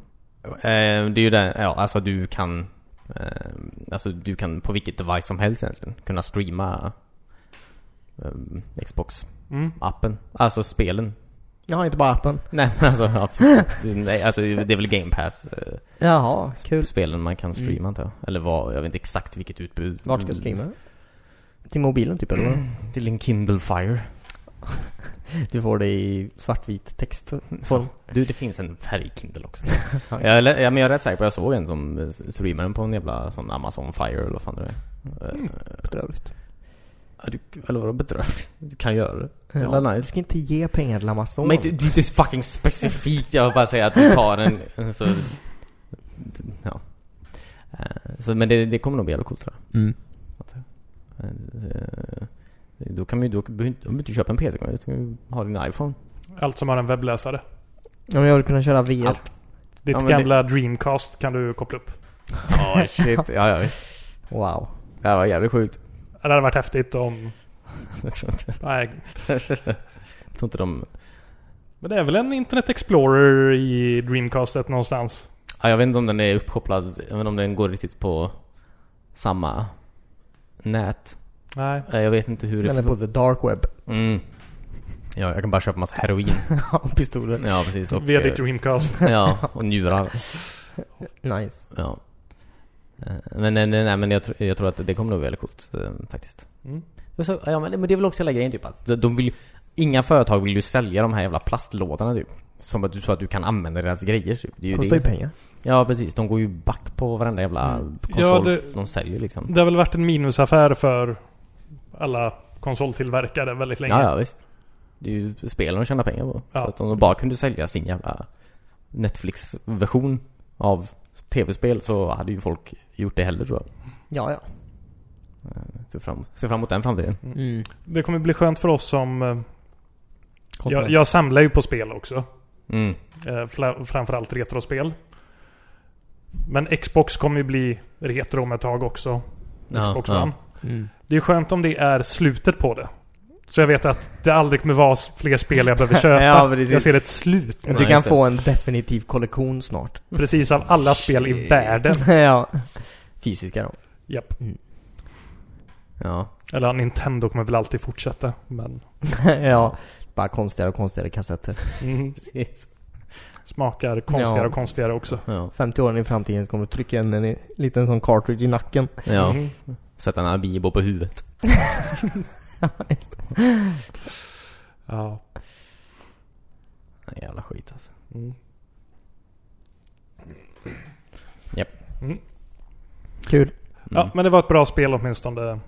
Eh, Det är ju den, ja alltså du kan, eh, alltså du kan på vilket device som helst egentligen kunna streama eh, Xbox-appen.
Mm.
Alltså spelen.
Jag har inte bara appen.
Nej men alltså, ja, precis.
(laughs)
nej, alltså det är väl Game Pass eh,
Jaha, kul.
spelen man kan streama antar jag. Eller vad, jag vet inte exakt vilket utbud.
Mm.
Mm.
Vart ska jag streama? Till mobilen typ eller? (clears throat) vad?
Till en Kindle Fire.
Du får det i svartvit (clears throat) text.
Form. Du, det finns en färgkindel också. jag, är, lä- ja, men jag är rätt säker på att jag såg en som eh, streamade den på en jävla sån Amazon Fire eller vad fan det är.
Mm.
Eh,
Bedrövligt.
ja, du, eller vadå bedrövligt? Du kan göra det.
Ja.
Jävla
Du
nice.
ska inte ge pengar till Amazon.
Men inte- det är inte fucking specifikt. Jag vill bara säga att du tar en... en så, alltså, ja. Eh, Så, men det, det kommer nog bli jävligt coolt tror jag.
Mm.
Eh, Då kan vi ju, då behöver vi inte- då behöver vi inte köpa en PC, då kan vi ha din iPhone.
Allt som har en webbläsare.
Ja, men jag vill kunna köra VR.
Allt.
Ditt
Ja, men det-
gamla Dreamcast kan du koppla upp.
Ja, shit. (laughs) Ja, ja. visst.
Wow.
Det här var jävligt sjukt.
Det hade varit häftigt om...
(laughs) Jag tror inte,
Nej,
jag tror inte de...
men det är väl en Internet Explorer i Dreamcastet någonstans.
Ja, jag vet inte om den är uppkopplad, jag vet inte om den går riktigt på samma nät.
Nej.
Eh, Jag vet inte hur
Den är
det...
på the dark web.
Mm. Ja, jag kan bara köpa massa (laughs) heroin.
(laughs) Ja, pistoler.
Ja, precis. Och,
Via
eh,
ditt
(laughs)
Dreamcast.
Ja, och njurar.
Nice.
Ja. Eh, Men, nej, nej, nej, men jag, tr- jag tror att det kommer nog bli väldigt coolt eh, faktiskt.
Mm.
Och Så, ja, men, men det är väl också hela grejen typ att de- de vill ju- Inga företag vill ju sälja de här jävla plastlådorna typ. Som att du så att du kan använda deras grejer typ. Det är ju
Kostar ju
det.
pengar.
Ja precis, de går ju back på varenda jävla Mm. konsol
Ja, det-
de säljer liksom.
Det har väl varit en minusaffär för alla konsoltillverkare väldigt länge.
Ja, ja visst. Det är ju spel de tjänar pengar på.
Ja.
Så att om de bara kunde sälja sin jävla Netflix-version av tv-spel så hade ju folk gjort det hellre tror jag.
Ja, ja.
Eh, Ser fram, ser fram emot den framtiden.
Mm.
Det kommer bli skönt för oss som... eh, Jag,
Konsument.
jag samlar ju på spel också.
Mm.
Eh, fla- Framförallt retrospel. Men Xbox kommer ju bli retro om ett tag också.
Ja,
Xbox
ja.
One.
Mm.
Det är skönt om det är slutet på det. Så jag vet att det aldrig kommer vara fler spel jag
(laughs)
behöver köpa.
Ja, precis.
jag ser ett slut.
Ja,
Du kan
just det.
få en definitiv kollektion snart.
Precis av alla spel i världen.
(laughs) ja. Fysiska då.
Japp.
Ja.
Eller Nintendo kommer väl alltid fortsätta.
(laughs)
Men
(laughs) ja. Bara konstigare och konstigare kassetter.
mm,
Precis.
smakar konstigare
Ja.
och konstigare också.
Ja.
50 år i framtiden kommer du trycka in en i- liten sån cartridge i nacken.
ja.
Mm.
Sätta en Abibo på huvudet.
Ja.
Ja, Jävla skit alltså.
Mm.
Kul.
Mm.
ja, men det var ett bra spel åtminstone.
Mm.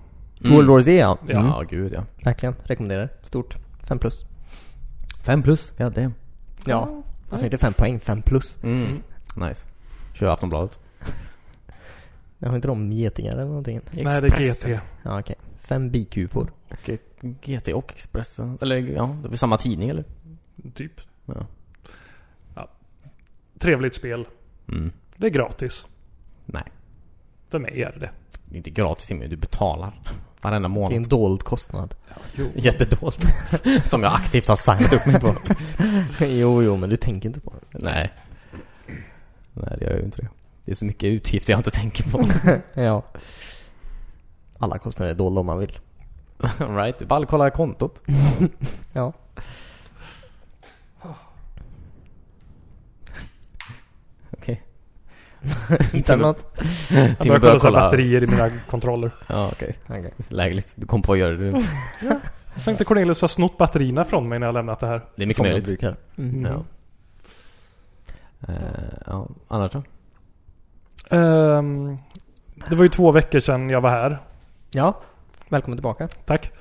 World Wars E ja.
Ja,
Mm.
gud ja.
Verkligen. Rekommenderar det. Stort. 5 plus.
Fem plus, god damn.
Ja. Alltså inte 5 poäng, 5 plus.
Mm. Nice. Kör Aftonbladet.
Jag har inte de getingar eller någonting.
Nej, det är GT.
Ja, okej. Fem bikupor.
Och, eh, GT och Expressen. Eller ja, det är väl samma tidning eller?
Typ.
Ja.
Trevligt spel.
Mm.
Det är gratis.
Nej.
För mig är det det
Det är inte gratis till mig, du betalar. Varenda
Det är
månad.
en dold kostnad.
Jättedolt. (laughs) Som jag aktivt har signat upp mig på.
(laughs) jo, jo, men du tänker inte på det.
Nej. Nej, det gör jag ju inte det. Det är så mycket utgifter jag inte tänker på.
(laughs) Ja. Alla kostnader är dolda om man vill.
All right, du bara kolla kontot.
Ja.
Okej.
Hittar du något?
Jag börjar kolla, så här batterier i mina
(laughs)
kontroller.
Ja, okej.
Okej.
Lägligt. Du kom på att göra det. nu.
Jag tänkte Cornelius har snott batterierna från mig när jag lämnat det här.
Det är mycket
Som de
möjligt.
brukar. Mm.
Ja. Eh, ja, annars då?
Ehm, det var ju två veckor sedan jag var här.
Ja. Välkommen tillbaka.
Tack.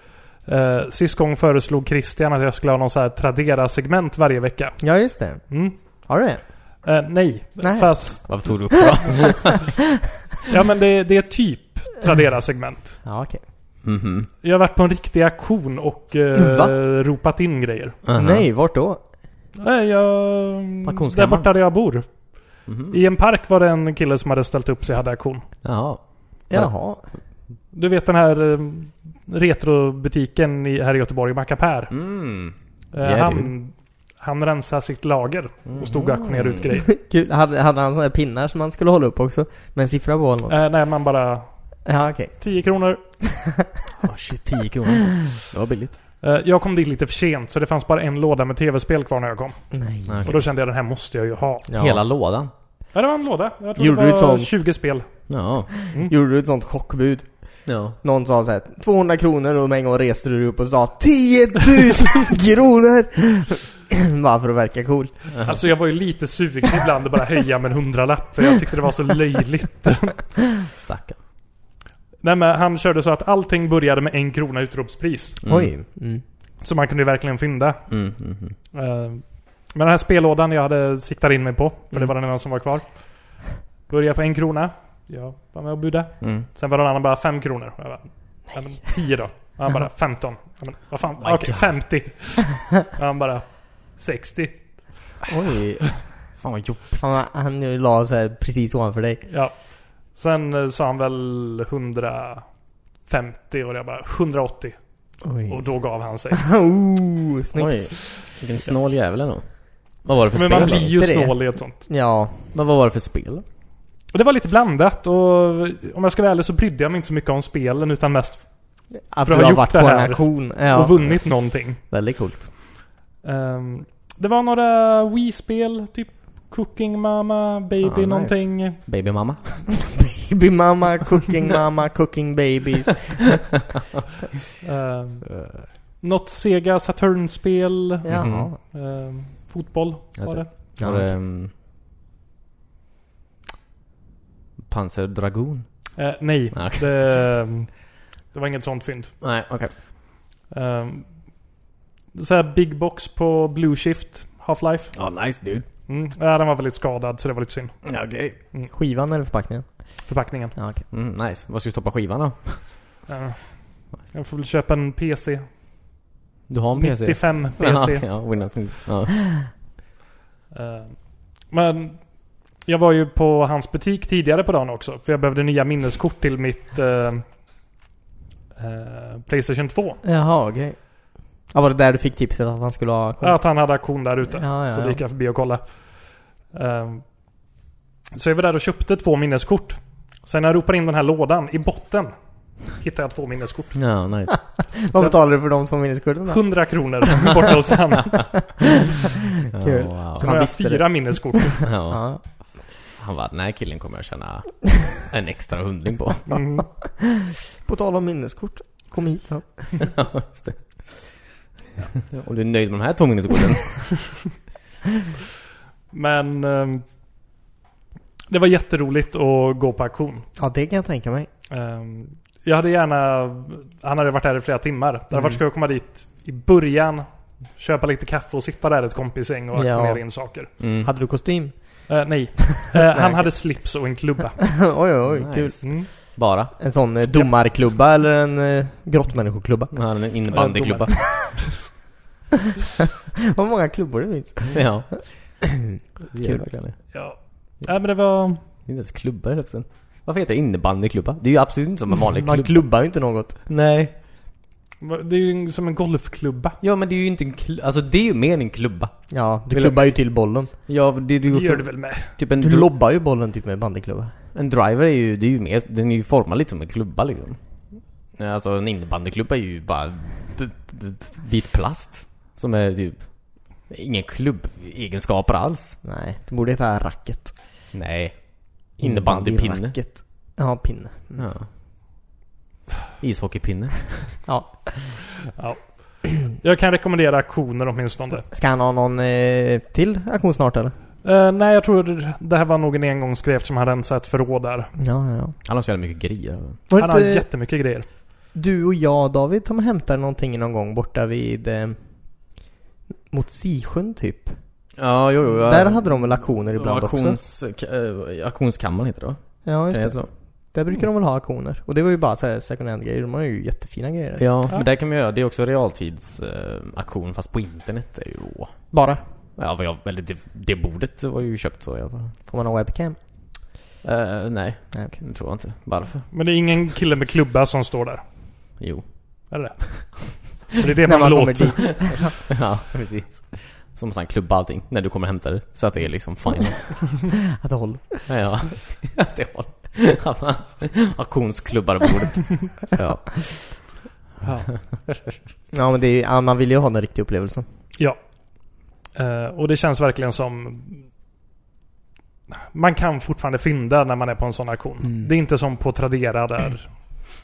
Eh, sist gång föreslog Christian att jag skulle ha någon så här Tradera-segment varje vecka.
Ja, just det.
Mm.
Har du det?
Eh, nej.
Nej.
Fast,
Varför tog du upp det då?
ja men det, det är typ Tradera-segment.
Ja, okej.
Mhm.
Jag har varit på en riktig auktion och eh,
Mm, Va? Mm.
ropat in grejer.
Aha.
Nej, vart då?
Nej, jag... Där
Auktionskammaren.
borta där jag bor.
Mm.
Mhm.
I en park var det en kille som hade ställt upp sig och hade auktion.
Jaha.
Jaha.
Du vet den här eh, retrobutiken i, här i Göteborg, Macapär.
Mm.
Eh,
Ja, det-
han, han rensade sitt lager och stod och auktionerade
Mm.
ut
(laughs)
grejer.
Kul. Hade, hade han såna här pinnar som han skulle hålla upp också? Med en siffra på eller något?
Eh, nej, man bara...
Ja, okej.
10 kronor.
Oh, shit, 10 kronor. Det var billigt.
Eh, jag kom dit lite för sent, så det fanns bara en låda med tv-spel kvar när jag kom.
Nej.
Ja,
Och
okej.
då kände jag den här måste jag ju ha.
Ja.
Hela lådan?
Ja, det var en låda. Jag tror
Gjorde du
det
ett
var
sånt?
20 spel.
Ja.
Gjorde du ett sånt chockbud?
Ja.
Någon sa såhär 200 kronor och med en gång reste du dig upp och sa 10 000
(laughs)
kronor! (clears throat) Bara för att verka cool.
Alltså jag var ju lite sugen ibland att bara höja med en hundralapp, för jag tyckte det var så löjligt.
Stackarn.
Nej men han körde så att allting började med en krona utropspris.
Mm.
Oj. Mm.
Så man kunde ju verkligen fynda.
Mm, mm, mm.
Eh, Men den här spellådan jag hade siktat in mig på, för det
Mm.
var den enda som var kvar. Började på en krona. jag var med och budade.
Mm.
Sen var någon annan bara 5 kronor. Och jag bara, ja, men 10 då. Och han
(laughs)
bara 15. Ja, men, vad fan,
Oh my
okej
(laughs)
50. Och han bara 60.
Oj. Fan vad jobbigt.
Han, han la så här precis ovanför dig.
Ja. Sen eh, sa han väl 150 och jag bara 180. Och
Oj.
då gav han sig.
oh, snyggt.
Oj. Vilken snål jävel ändå. Vad var det för
Men
spel?
man
då?
blir ju
Det är det.
snål i ett sånt.
Ja.
Men vad var det för spel?
Och det var lite blandat och om jag ska vara ärlig så brydde jag mig inte så mycket om spelen utan mest
Att
För att ha
du har
gjort
varit på
det
en
här.
auktion. Ja.
och vunnit någonting.
Väldigt coolt.
Ehm, det var några Wii-spel, typ Cooking Mama, Baby
Ah, nice.
någonting.
Baby mamma?
Baby mama, cooking mama, cooking
(laughs)
babies.
Ehm,
Eh,
något Sega Saturn-spel.
Jaha.
Mhm.
Ehm, fotboll
Jag
var det.
Ja,
alltså, Var det... Um, Panzerdragon?
Eh, nej,
Ah, okej.
det, ehm, det var inget sånt fynd.
Nej, okej.
Ehm, så här Big Box på Blue Shift, Half-Life.
Ja, nice dude.
Mm. Ja, den var väldigt skadad så det var lite synd.
Okej.
Skivan eller förpackningen?
Förpackningen.
Ja, okej.
Mm, nice. Var ska du stoppa skivan då?
Ehm, jag får väl köpa en PC.
Du har en PC?
95
(laughs) Ja,
PC.
ja, Windows 90. Ja.
Eh, Men jag var ju på hans butik tidigare på dagen också. För jag behövde nya minneskort till mitt eh, eh, Playstation 2.
Jaha, okej. Ja, var det där du fick tipset att han skulle ha
Att han hade auktion där ute.
Ja, ja,
så då gick
ja.
jag förbi och kollade. Eh, så jag var där och köpte två minneskort. Sen när jag ropar in den här lådan, i botten hittar jag två minneskort.
ja, (laughs) nice.
Vad betalar du för de två minneskorten då?
100 kronor borta hos
(laughs)
han.
Kul.
Ja,
Så
wow.
han
har jag
visste det.
fyra minneskort.
ja.
Ja.
Han bara, den här killen kommer jag (laughs) tjäna en extra hundring på.
Mm.
På tal om minneskort. Kom hit så.
Ja, just det. Om du är nöjd med de här två minneskorten?
Men eh, det var jätteroligt att gå på auktion.
Ja, det kan jag tänka mig.
Ehm, Jag hade gärna... Han hade varit där i flera timmar. Det
Mm.
hade varit skönt att komma dit i början, köpa lite kaffe och sitta där i ett kompisäng och
Ja.
auktionera in saker.
Mm.
Hade du kostym? (laughs)
Eh, nej. Eh, han hade slips och en klubba.
oj, oj, oj.
Nice.
Kul.
Mm.
Bara?
En sån eh, domarklubba eller en eh, grottmänniskoklubba?
Han hade en innebandyklubba. Mm.
Vad många klubbor det finns.
(laughs) ja. (clears throat) Det gör
Kul.
det verkligen det.
Ja. Nej, men det var...
Det är inte ens klubba i hälften. Varför heter det innebandyklubba? Det är ju absolut inte som en vanlig
Man
klubb.
klubbar ju inte något.
Nej.
Det är ju som en golfklubba.
Ja men det är ju inte en klubba. Alltså det är ju mer en klubba.
Ja, du
Vill-
klubbar ju till bollen.
Ja det är ju
Det
också...
gör det väl med.
Typ en,
Du
dro-
lobbar ju bollen typ med bandyklubba.
en driver är ju, det är ju mer, den är ju formad lite som en klubba liksom. Nej, Alltså en innebandyklubba är ju bara b- b- bit plast. Som är typ ingen klubbegenskaper alls.
Nej, det borde heta racket.
Nej. Innebandypinne.
Racket. Ja, pinne. Mm.
Ja. Ishockeypinne.
Ja.
Ja. Jag kan rekommendera auktioner åtminstone.
Ska han ha någon eh, till auktion snart eller?
Eh, nej, jag tror det här var nog en engångsgrej eftersom han hade ett förråd där.
Ja, ja, ja.
Han har så jävla mycket grejer.
Var
Han har
det inte
jättemycket grejer.
du och jag David som hämtade någonting någon gång borta vid... Eh, mot Sisjön typ?
Ja, jo, jo.
Där hade de väl auktioner ibland också?
auktions, äh, auktionskammaren heter det va?
Ja, just
Är
det.
det Eh, så?
Där brukar de väl ha auktioner. Och det var ju bara så här second hand-grejer. De har ju jättefina grejer. där.
Ja, men där kan man göra. Det är också realtidsauktion fast på internet. Det är ju rå.
Bara.
Ja, vad jag, eller det, det bordet var ju köpt så. Jag bara,
Får man ha webcam?
eh, nej,
Nej, okej.
det tror jag inte. Varför?
Men det är ingen kille med klubba som står där.
Jo. (laughs)
Är
(laughs)
det det? För Det är det man,
När man kommer
låter.
dit. (laughs)
ja, precis. Som sån klubba allting. När du kommer och hämtar det. Så att det är
(laughs)
liksom fine.
Att det håller.
ja, (laughs) att det håller. Auktionsklubbarbordet.
(laughs)
ja.
Ja.
Ja, men det är, ju- ja, man vill ju ha den riktiga upplevelsen.
Ja. Eh, och det känns verkligen som... Man kan fortfarande fynda när man är på en sån auktion.
Mm.
Det är inte som på Tradera där...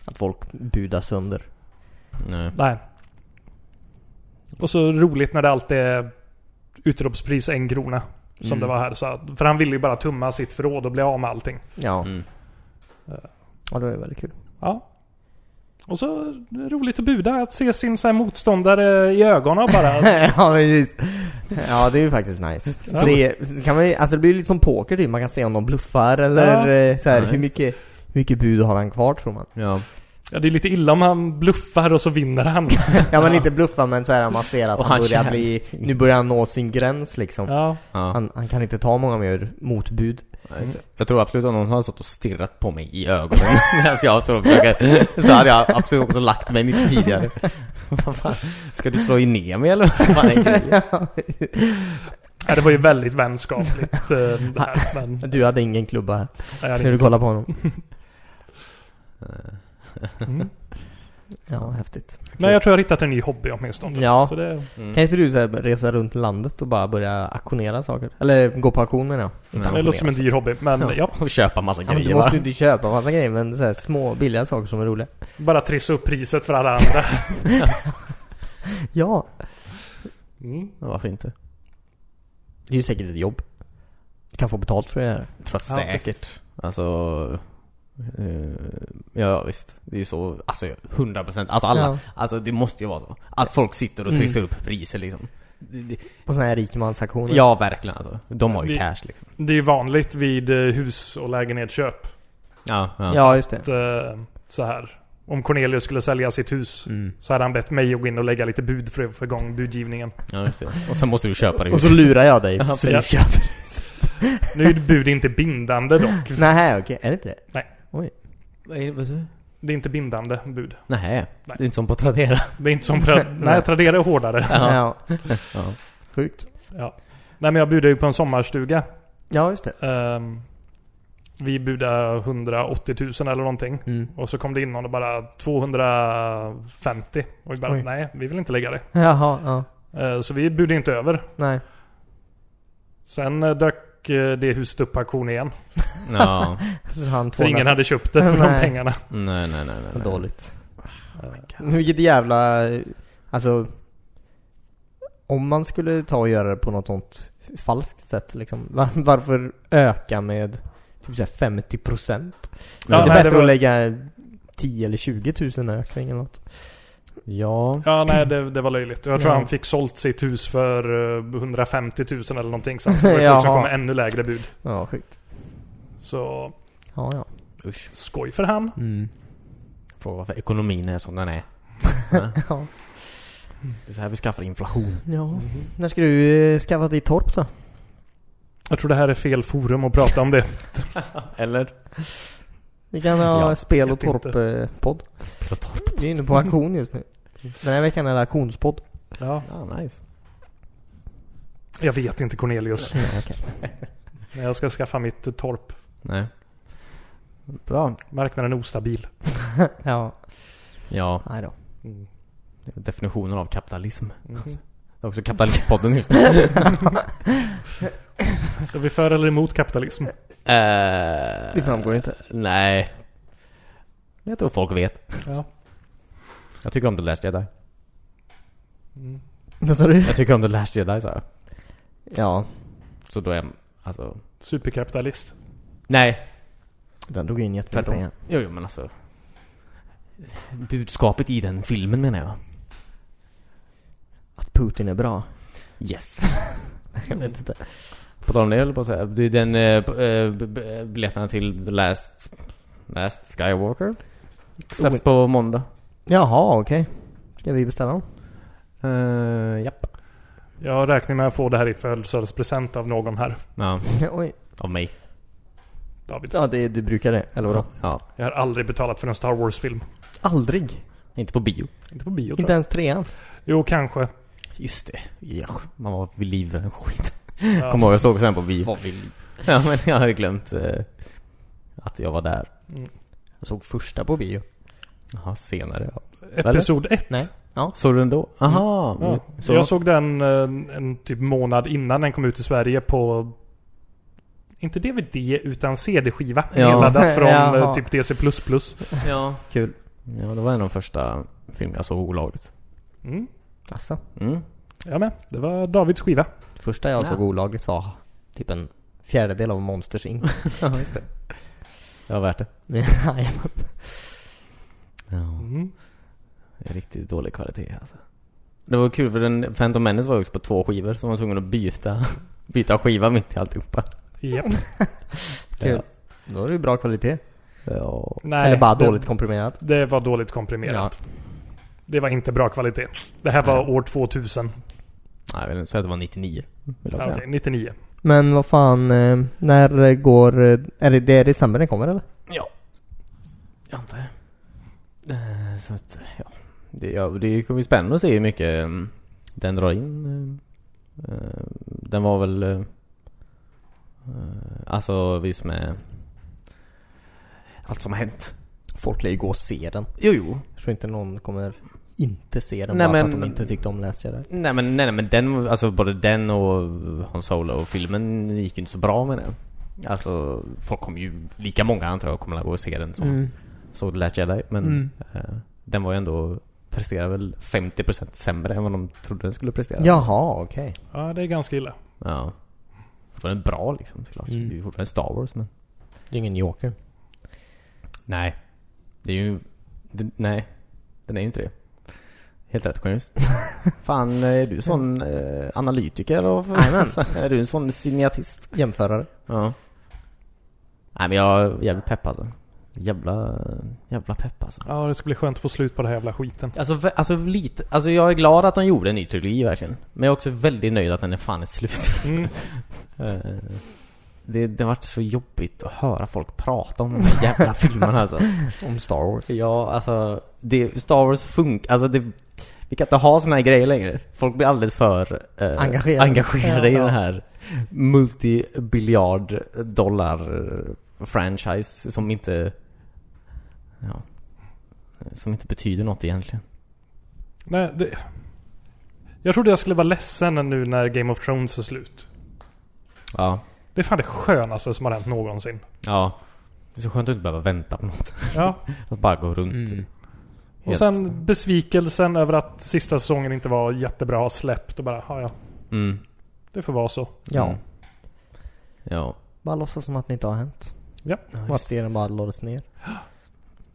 Att folk budar sönder.
Nej.
Nej. Och så roligt när det alltid är utropspris en krona. Som
Mm.
det var här. Så, att- för han ville ju bara tumma sitt förråd och bli av med allting.
Ja.
Mm.
Ja, det var ju väldigt kul.
Ja. Och så
(laughs)
(laughs) roligt att buda. Att se sin så här motståndare i ögonen och bara...
ja, precis. Ja, det är ju faktiskt nice. Se, kan man, ju- alltså det blir ju lite som poker typ. Man kan se om de bluffar eller
Ja.
eh, så här,
Nice.
hur mycket, hur mycket bud har han kvar tror man.
Ja.
Ja, det är lite illa om han bluffar och så vinner han.
Ja men inte bluffa men så här, man ser att
Och
han,
han
börjar
tjänar.
bli, nu börjar han nå sin gräns liksom.
Ja.
ja.
Han, han kan inte ta många mer motbud.
Ja, just det. Jag tror absolut att någon hade stått och stirrat på mig i ögonen (laughs) medan jag står och försöker Så hade jag absolut också lagt mig mycket tidigare (laughs) Vad fan, Ska du slå in ner mig eller vad fan är grejen?
ja, det var ju väldigt vänskapligt eh, det (laughs) här. Men,
Du hade ingen klubba här,
ja, jag
när du kollar på honom.
Mm.
Ja, häftigt.
Men jag tror jag har hittat en ny hobby åtminstone.
Ja.
Så det,
Mm.
Mm.
Kan inte du så här, resa runt landet och bara börja auktionera saker? Eller gå på auktion menar jag.
Mm.
det låter som en dyr hobby. Men ja.
Och köpa massa
Ja, men
grejer
du
va?
måste ju inte köpa massa grejer men så här, små billiga saker som är roliga.
bara trissa upp priset för alla andra.
Ja.
Mm.
Ja, varför inte?
Det är ju säkert ett jobb. Du kan få betalt för det här.
Jag tror
Ja, precis.
säkert Alltså eh, ja visst, det är ju så, alltså 100% Alltså alla,
Ja.
alltså det måste ju vara så Att folk sitter och
Mm.
trixar upp priser liksom Det- det-
På såna här rikemansaktioner.
Ja verkligen alltså, de har ju
Vi-
cash liksom
Det är ju vanligt vid eh, hus och lägenhetsköp.
Ja, ja,
Ja, just det.
Att, eh, så här. Om Cornelius skulle sälja sitt hus
Mm.
så hade han bett mig att gå in och lägga lite bud för att få igång budgivningen.
ja just det. Och sen måste du köpa det
Och så lurar jag dig.
Ja,
så du
precis.
köper.
Nu är ju bud inte bindande dock.
Nej, okej. Är det inte det?
Vad är det, vad säger du?
Det är inte bindande bud.
Nej.
Nej.
det är inte som på Tradera.
Det är inte som tra-
(laughs)
Nej, Tradera är hårdare.
Ja.
Ja. (laughs)
Sjukt.
Nej men jag budade ju på en sommarstuga.
Ja, just det.
Ehm, vi budade 180 000 eller någonting.
Mm.
Och så kom det in någon och bara 250. Och vi bara
Oj.
nej, vi vill inte lägga det.
Jaha, ja.
Eh, så vi budade inte över.
Nej.
Sen eh, dök eh, det huset upp på auktion igen.
ja.
Så han
För ingen hade köpt det för de
Nej.
pengarna.
Nej, nej, nej, nej. nej.
Dåligt. Men Vilket jävla... Alltså... Om man skulle ta och göra det på något sånt falskt sätt liksom. Var, varför öka med typ såhär 50%?
Ja,
det är
nej,
bättre
det var-
att lägga 10 eller 20 000 ökning eller något.
Ja.
Ja, nej det, det var löjligt. Jag tror
Ja.
han fick sålt sitt hus för eh, 150 000 eller någonting sen. Så det var ju folk som
(laughs) Jaha.
kom med ännu lägre bud.
Ja, sjukt.
Så
Ja, ja.
Usch.
skoj för han.
Mm.
Fråga varför ekonomin är som den (laughs) är.
Ja.
Det är så här vi skaffar (laughs) inflation.
ja. När ska du eh, skaffa dig torp då?
Jag tror det här är fel forum att prata om det.
Eller?
Vi kan ha
Ja,
spel
vet
och
inte.
torp-podd. Vi är inne på auktion just nu. Den här veckan är det auktionspodd.
Ja.
Ja, nice.
Jag vet inte Cornelius. Men jag ska skaffa mitt eh, torp.
Nej. Bra.
Marknaden är ostabil.
(laughs) ja,
Ja,
nej då.
det är definitionen av kapitalism.
Mm.
Det är också kapitalistpodden just
Är vi för eller emot kapitalism?
(laughs) Det
Det framgår inte.
Eh, Nej. Men Jag tror folk vet.
Ja.
Jag tycker om The Last Jedi.
Mm.
(laughs) Vad sa du?
Jag tycker om The Last Jedi så.
Ja,
Så då är jag, alltså.
Superkapitalist.
Nej,
den drog in jättemycket
Tvärtom.
pengar.
Jo, jo, men alltså. Budskapet i den filmen menar jag.
Att Putin är bra.
Yes. jag vet inte. (laughs) På tal om det jag höll på att säga. Det är den eh, b- eh, b- b- biljetterna till The Last, Last Skywalker. Släpps
Oh.
på måndag.
Jaha, okej. Ska vi beställa dem?
Uh, japp.
Jag räknar med att få det här i födelsedagspresent av någon här.
Ja,
(laughs) Oj.
av mig.
David.
Ja, det, du brukar det. Eller vadå?
Ja.
Jag har aldrig betalat för en Star Wars-film.
Aldrig.
Inte på bio.
Inte på bio tror
Inte
jag.
ens trean.
Jo, kanske.
Just det. Ja, man var vid liv för den skiten.
Ja.
Kommer ihåg, jag såg sen på bio. Var vid liv. (laughs) Ja, men jag hade glömt eh, att jag var där.
Jag såg första på bio.
Jaha, senare. Ja.
Episod 1.
Nej.
Såg du den då? Aha. Mm.
Ja.
Så,
jag såg den eh, en typ månad innan den kom ut i Sverige på... Inte DVD, utan CD-skiva.
Ja.
Nedladdat från eh,
Jaha.
typ DC++.
ja.
Kul.
Ja, det var en av de första filmerna jag såg olagligt.
Mm.
Asså.
Mm.
Ja men, det var Davids skiva.
Första jag
Ja.
såg olagligt var typ en fjärdedel av Monsters (laughs) Inc.
Ja, just det. Det
(laughs)
var värt det.
Nej,
Ja.
Mm.
Riktigt dålig kvalitet alltså. Det var kul för den Phantom Menace var ju också på två skivor som var tvungen att byta, (laughs) byta skiva mitt i alltihopa.
Japp.
Kul. Då är det ju bra kvalitet.
Ja.
Nej,
Eller bara
det-
dåligt komprimerat.
Det var dåligt komprimerat. Det var inte bra kvalitet. Det här var år 2000.
Nej, jag vill inte säga att det var 99. Vill jag
Ja,
säga.
det är 99.
Men vad fan, eh, när går... eh, Är det, det är december den kommer eller?
Jag antar det. Eh, Så att, ja. Det, ja, det kommer bli spännande att se hur mycket eh, den drar in. Eh, eh, Den var väl... eh, eh, Alltså, vi som är... Allt som har hänt.
Folk lär ju gå och se den.
Jo, jo.
Jag tror inte någon kommer inte se den
Nej,
bara för
men-
att de inte tyckte om Last Jedi.
Nej men, nej, nej, men den, alltså både den och Han Solo-filmen gick ju inte så bra med den. Alltså, folk kommer ju... Lika många antar jag kommer att gå och se den som såg The Last Jedi. Men
Mm.
eh, den var ju ändå... Presterade väl 50% sämre än vad de trodde den skulle prestera.
Jaha, okej.
Ja, det är ganska illa.
Ja. Fortfarande bra liksom såklart.
Mm.
Det är ju fortfarande Star Wars men...
Det är ingen joker.
Nej. Det är ju... Det, nej. Den är ju inte det. Helt
(laughs)
rätt Cornelius. Fan, är du sån eh, analytiker? Och,
Jajamän.
(laughs) är du en sån cineatist?
(laughs) Jämförare.
Ja. Nej men jag är jävligt pepp alltså. Jävla, jävla pepp alltså.
Ja, det ska bli skönt att få slut på den här jävla skiten.
Alltså, vä- alltså lite, alltså jag är glad att de gjorde en ny trilogi verkligen. Men jag är också väldigt nöjd att den är fan är slut. (laughs)
Mm.
Eh, det, det har varit så jobbigt att höra folk prata om de här jävla filmerna alltså.
Om Star Wars.
Ja, alltså det, Star Wars funkar, alltså det, vi kan inte ha såna här grejer längre. Folk blir alldeles för eh,
Engagerade.
engagerade i
Ja.
den här multibiljard dollar franchise som inte, ja, som inte betyder något egentligen.
Nej, det... Jag trodde jag skulle vara ledsen nu när Game of Thrones är slut.
Ja,
Det är fan det skönaste som har hänt någonsin.
ja. Det är så skönt att inte behöva vänta på något.
Ja.
Att bara gå runt.
Mm.
helt-
Och sen besvikelsen över att sista säsongen inte var jättebra har släppt och bara, "Ja, ja,
Mm.
det får vara så.
Ja.
Mm. Ja.
Bara låtsas som att det inte har hänt. Och att serien bara lades ner. (laughs)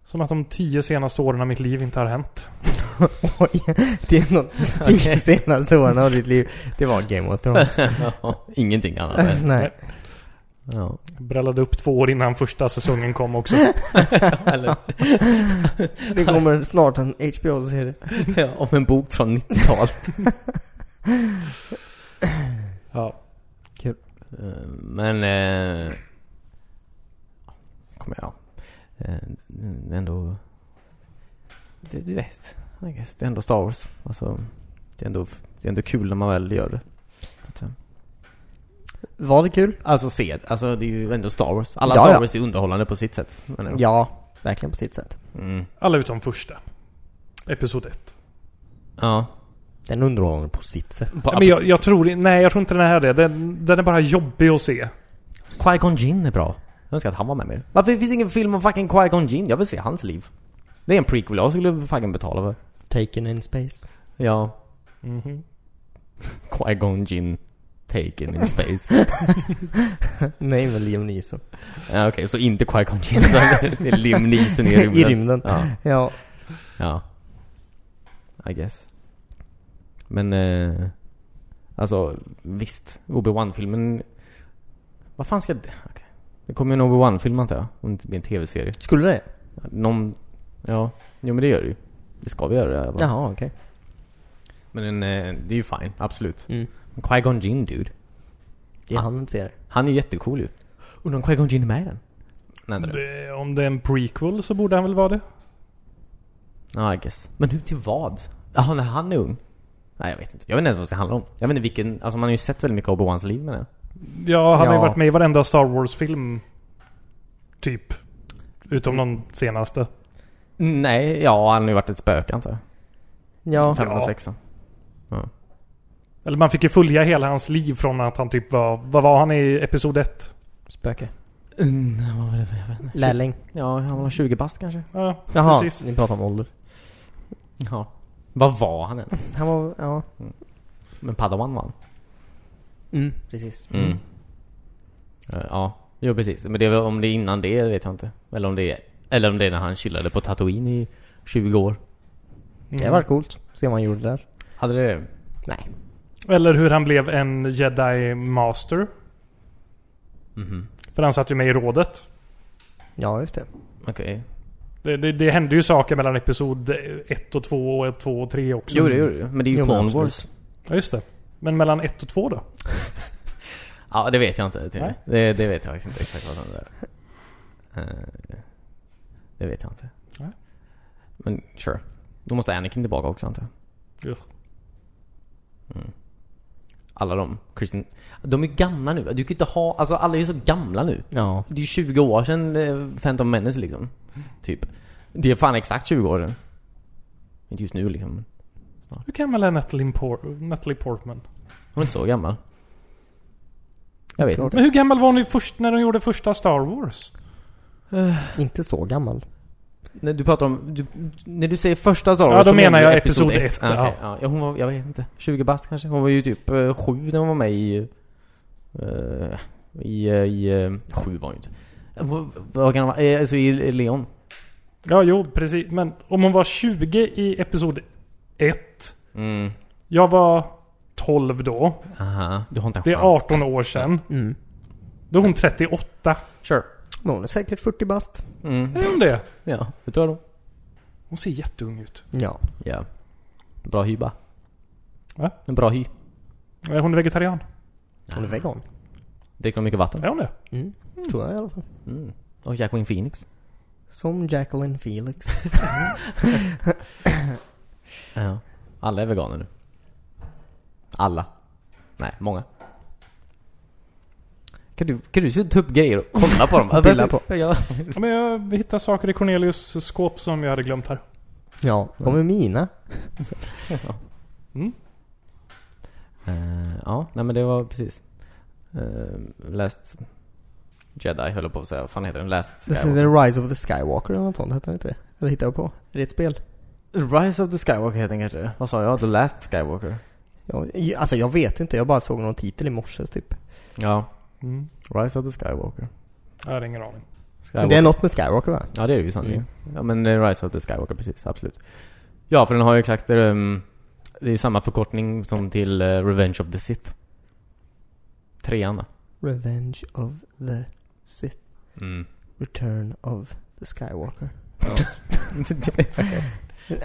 Som att de tio senaste åren av mitt liv inte har hänt.
Oj, det är (laughs) något de senaste åren av ditt liv. Det var Game of Thrones.
(laughs) Ja, Ingenting annat. än-
(laughs) Nej.
Ja.
Jag brallade upp två år innan första säsongen kom också.
Eller,
(laughs) Det kommer snart en HBO-serie.
(laughs) ja, om en bok från 90-talet.
Ja.
Eh, Men... Eh, kommer jag... Eh, det är ändå... Det, du vet. I guess, det är ändå Star Wars. Alltså, det, är ändå, det är ändå kul när man väl gör det. Att, eh,
Var det kul?
Alltså se det. Alltså det är ju ändå Star Wars. Alla
Ja,
Star
ja.
Wars är underhållande på sitt sätt. Men, ändå.
Ja, verkligen på sitt sätt.
Mm.
Alla utom första. Episod 1.
ja.
Den underhåller på sitt sätt.
På,
Men jag, jag tror i- Nej, jag tror inte den här är det. Den, den är bara jobbig att se.
Qui-Gon Jinn är bra. Jag önskar att han var med mer. Varför finns ingen film om fucking Qui-Gon Jinn? Jag vill se hans liv. Det är en prequel jag skulle fucking betala för.
Taken in space.
Ja.
Mhm.
Qui-Gon Jinn taken in space. (laughs)
Nej, men Liam Neeson.
ja, Okej, så inte Qui-Gon (laughs) Jinn. Det är Liam Neeson i
(laughs)
rymden.
I rymden.
Ja,
Ja.
ja. I guess. Men, eh, alltså visst. Obi-Wan-filmen. Vad fan ska det... okej. Det kommer ju en Obi-Wan-film antar jag. Om det inte blir en tv-serie.
Skulle det?
Någon... Ja. Jo men det gör det ju. Det ska vi göra. i alla fall.
Jaha, okej.
Men en, eh, det är ju fine. Absolut.
Mm.
Men Qui-Gon Jinn dude.
Det är han inte ser.
Han är ju jättecool ju. Undrar om Qui-Gon Jinn är med i den? Nej, det är det.
Det, om det är en prequel så borde han väl vara det.
Ja, I guess. Men hur till vad? Jaha, när han är ung? Nej, jag vet inte. Jag vet inte ens vad det ska handla om. Jag vet inte vilken... Alltså man har ju sett väldigt mycket av Obi-Wans liv med det.
Ja, han har
Ja.
ju varit med i varenda Star Wars-film. Typ. Utom någon senaste.
Nej, ja han har ju varit ett spöke antar jag.
Ja.
Femman och sexan.
Eller man fick ju följa hela hans liv från att han typ var... Vad var han i Episod 1?
Spöke.
Mm, vad var det? Jag vet inte.
Lärling.
Ja, han var 20 bast kanske?
Ja,
Jaha,
precis.
ni pratar om ålder.
Ja. Vad var han ens?
Han var, ja.
Men Padawan var han.
Mm, precis.
Mm. Eh, Ja, jo precis. Men det var, om det är innan det vet jag inte. Eller om det är, eller om det är när han chillade på Tatooine i 20 år.
Mm.
Det var coolt. Se vad han gjorde där.
Hade det?
Nej.
Mm. Eller hur han blev en jedi master.
Mhm.
För han satt ju med i rådet.
Ja, just det.
Okej.
Det, det, det hände ju saker mellan episod 1 och 2 och 2 och 3 också.
Jo, det gjorde det ju. Men det är ju
Jo, men
Clone
absolut.
Wars.
Ja, just det. Men mellan 1 och 2 då?
Ja, det vet jag inte. Det,
Nej.
det, det vet jag faktiskt inte exakt vad som är. Eh, Det vet jag inte.
Nej.
Men sure. Då måste Anakin tillbaka också antar jag.
Ja.
Mm. Alla de. Kristen, de är gamla nu. Du kan ju inte ha... Alltså alla är ju så gamla nu.
Ja.
Det är ju 20 år sedan eh, Phantom Menace liksom. Typ. Det är fan exakt 20 år sedan. Inte just nu liksom. men
Hur gammal är Natalie, Por- Natalie Portman?
Hon är inte så gammal. Jag vet
Klart.
inte.
Men hur gammal var hon i först, när de gjorde första Star Wars?
Inte så gammal.
När du pratar om... Du, när du säger första Star Wars
Ja, då
så
menar
du
jag episod
ett.
ett,
Ah,
ja.
okej. ja. ja, hon var... Jag vet inte. 20 bast kanske. Hon var ju typ eh, sju när hon var med i... eh, I... eh, i eh, sju var hon ju inte. Eh, vad- Vad kan hon vara? Eh, Alltså i Leon.
Ja, jo, precis. Men om hon var 20 i episod 1.
Mm.
Jag var 12 då.
Aha. Du har inte en
Det är
chans.
18 år sedan.
Mm.
Då är hon 38.
Sure.
Men hon är säkert 40 bast.
Mm.
Är hon det?
Ja, det tror jag nog.
Hon ser jätteung ut.
Ja.
Ja. Bra hy bara.
Va?
En bra hy.
Är hon vegetarian?
Hon är vegan.
Dricker de mycket vatten?
Är hon det?
Mm. Tror jag i alla fall.
Mm. Och Jacqueline Phoenix.
Som Jacqueline Felix.
Ja. Alla är veganer nu. Alla. Nej, många. Kan du, kan du ta upp grejer och kolla på dem?
Pilla på.
(laughs) Ja.
Ja, men jag hittar saker i Cornelius skåp som jag hade glömt här.
Ja, de är mina.
Mm. Eh, ja, nej men det var precis. Uh, last Jedi höll jag på att säga. Vad fan heter den? Last
The
Skywalker.
Rise of the Skywalker eller något sånt hette det inte det? Eller hittade jag på? Är det ett spel?
Rise of the Skywalker heter den kanske? Vad sa jag? The Last Skywalker?
Ja, i- alltså jag vet inte, jag bara såg någon titel i morse typ.
Ja.
Mm.
Rise of the Skywalker.
Jag har ingen aning.
Men det är något med Skywalker va?
Ja, det är det ju sannolikt. Ja, men eh, Rise of the Skywalker, precis. Absolut. Ja, för den har ju exakt... ehm, det är ju samma förkortning som till eh, Revenge of the Sith. Trean, va?
Revenge of the Sith.
Mm.
Return of the Skywalker.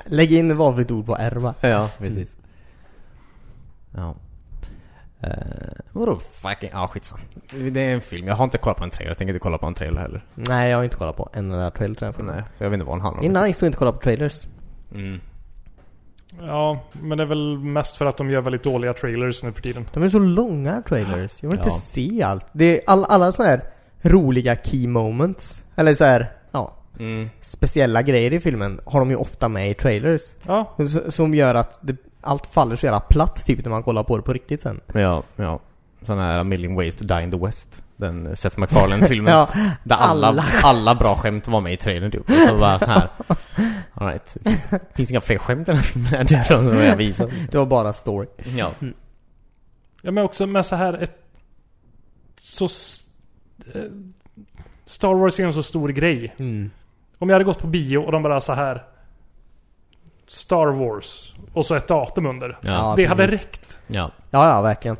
Lägg in varligt ord på R va?
(laughs) ja, precis. Ja. Eh, vadå fucking... Ja, skitsamma. Det är en film. Jag har inte kollat på en trailer. Jag tänker inte kolla på en trailer heller.
Nej, jag har inte kollat på en enda trailer till den filmen.
Nej, för jag vet inte vad den handlar
Det
om.
är nice att inte kolla på trailers.
Mm.
Ja, men det är väl mest för att de gör väldigt dåliga trailers nu för tiden.
De är så långa trailers. Jag vill inte
Ja.
se allt. Det är all, alla såna här roliga key moments. Eller så här, ja.
Mm.
Speciella grejer i filmen har de ju ofta med i trailers.
Ja,
S- Som gör att det, allt faller så jävla platt typ när man kollar på det på riktigt sen.
Ja, ja. Sån här A Million Ways to Die in the West. Den eh, (laughs) Seth MacFarlane-filmen.
Ja,
Där alla, alla.
Alla.
bra skämt var med i trailern typ. Och så bara så här. All right. Det finns, finns inga fler skämt i den här filmen (laughs) än som jag visat.
det var bara story.
Ja.
ja men också med så här ett... Så... s- eh, Star Wars är en så stor grej.
Mm.
Om jag hade gått på bio och de bara så här Star Wars och så ett datum under.
Ja.
Ja.
det hade
precis.
räckt.
Ja.
Ja, ja, verkligen.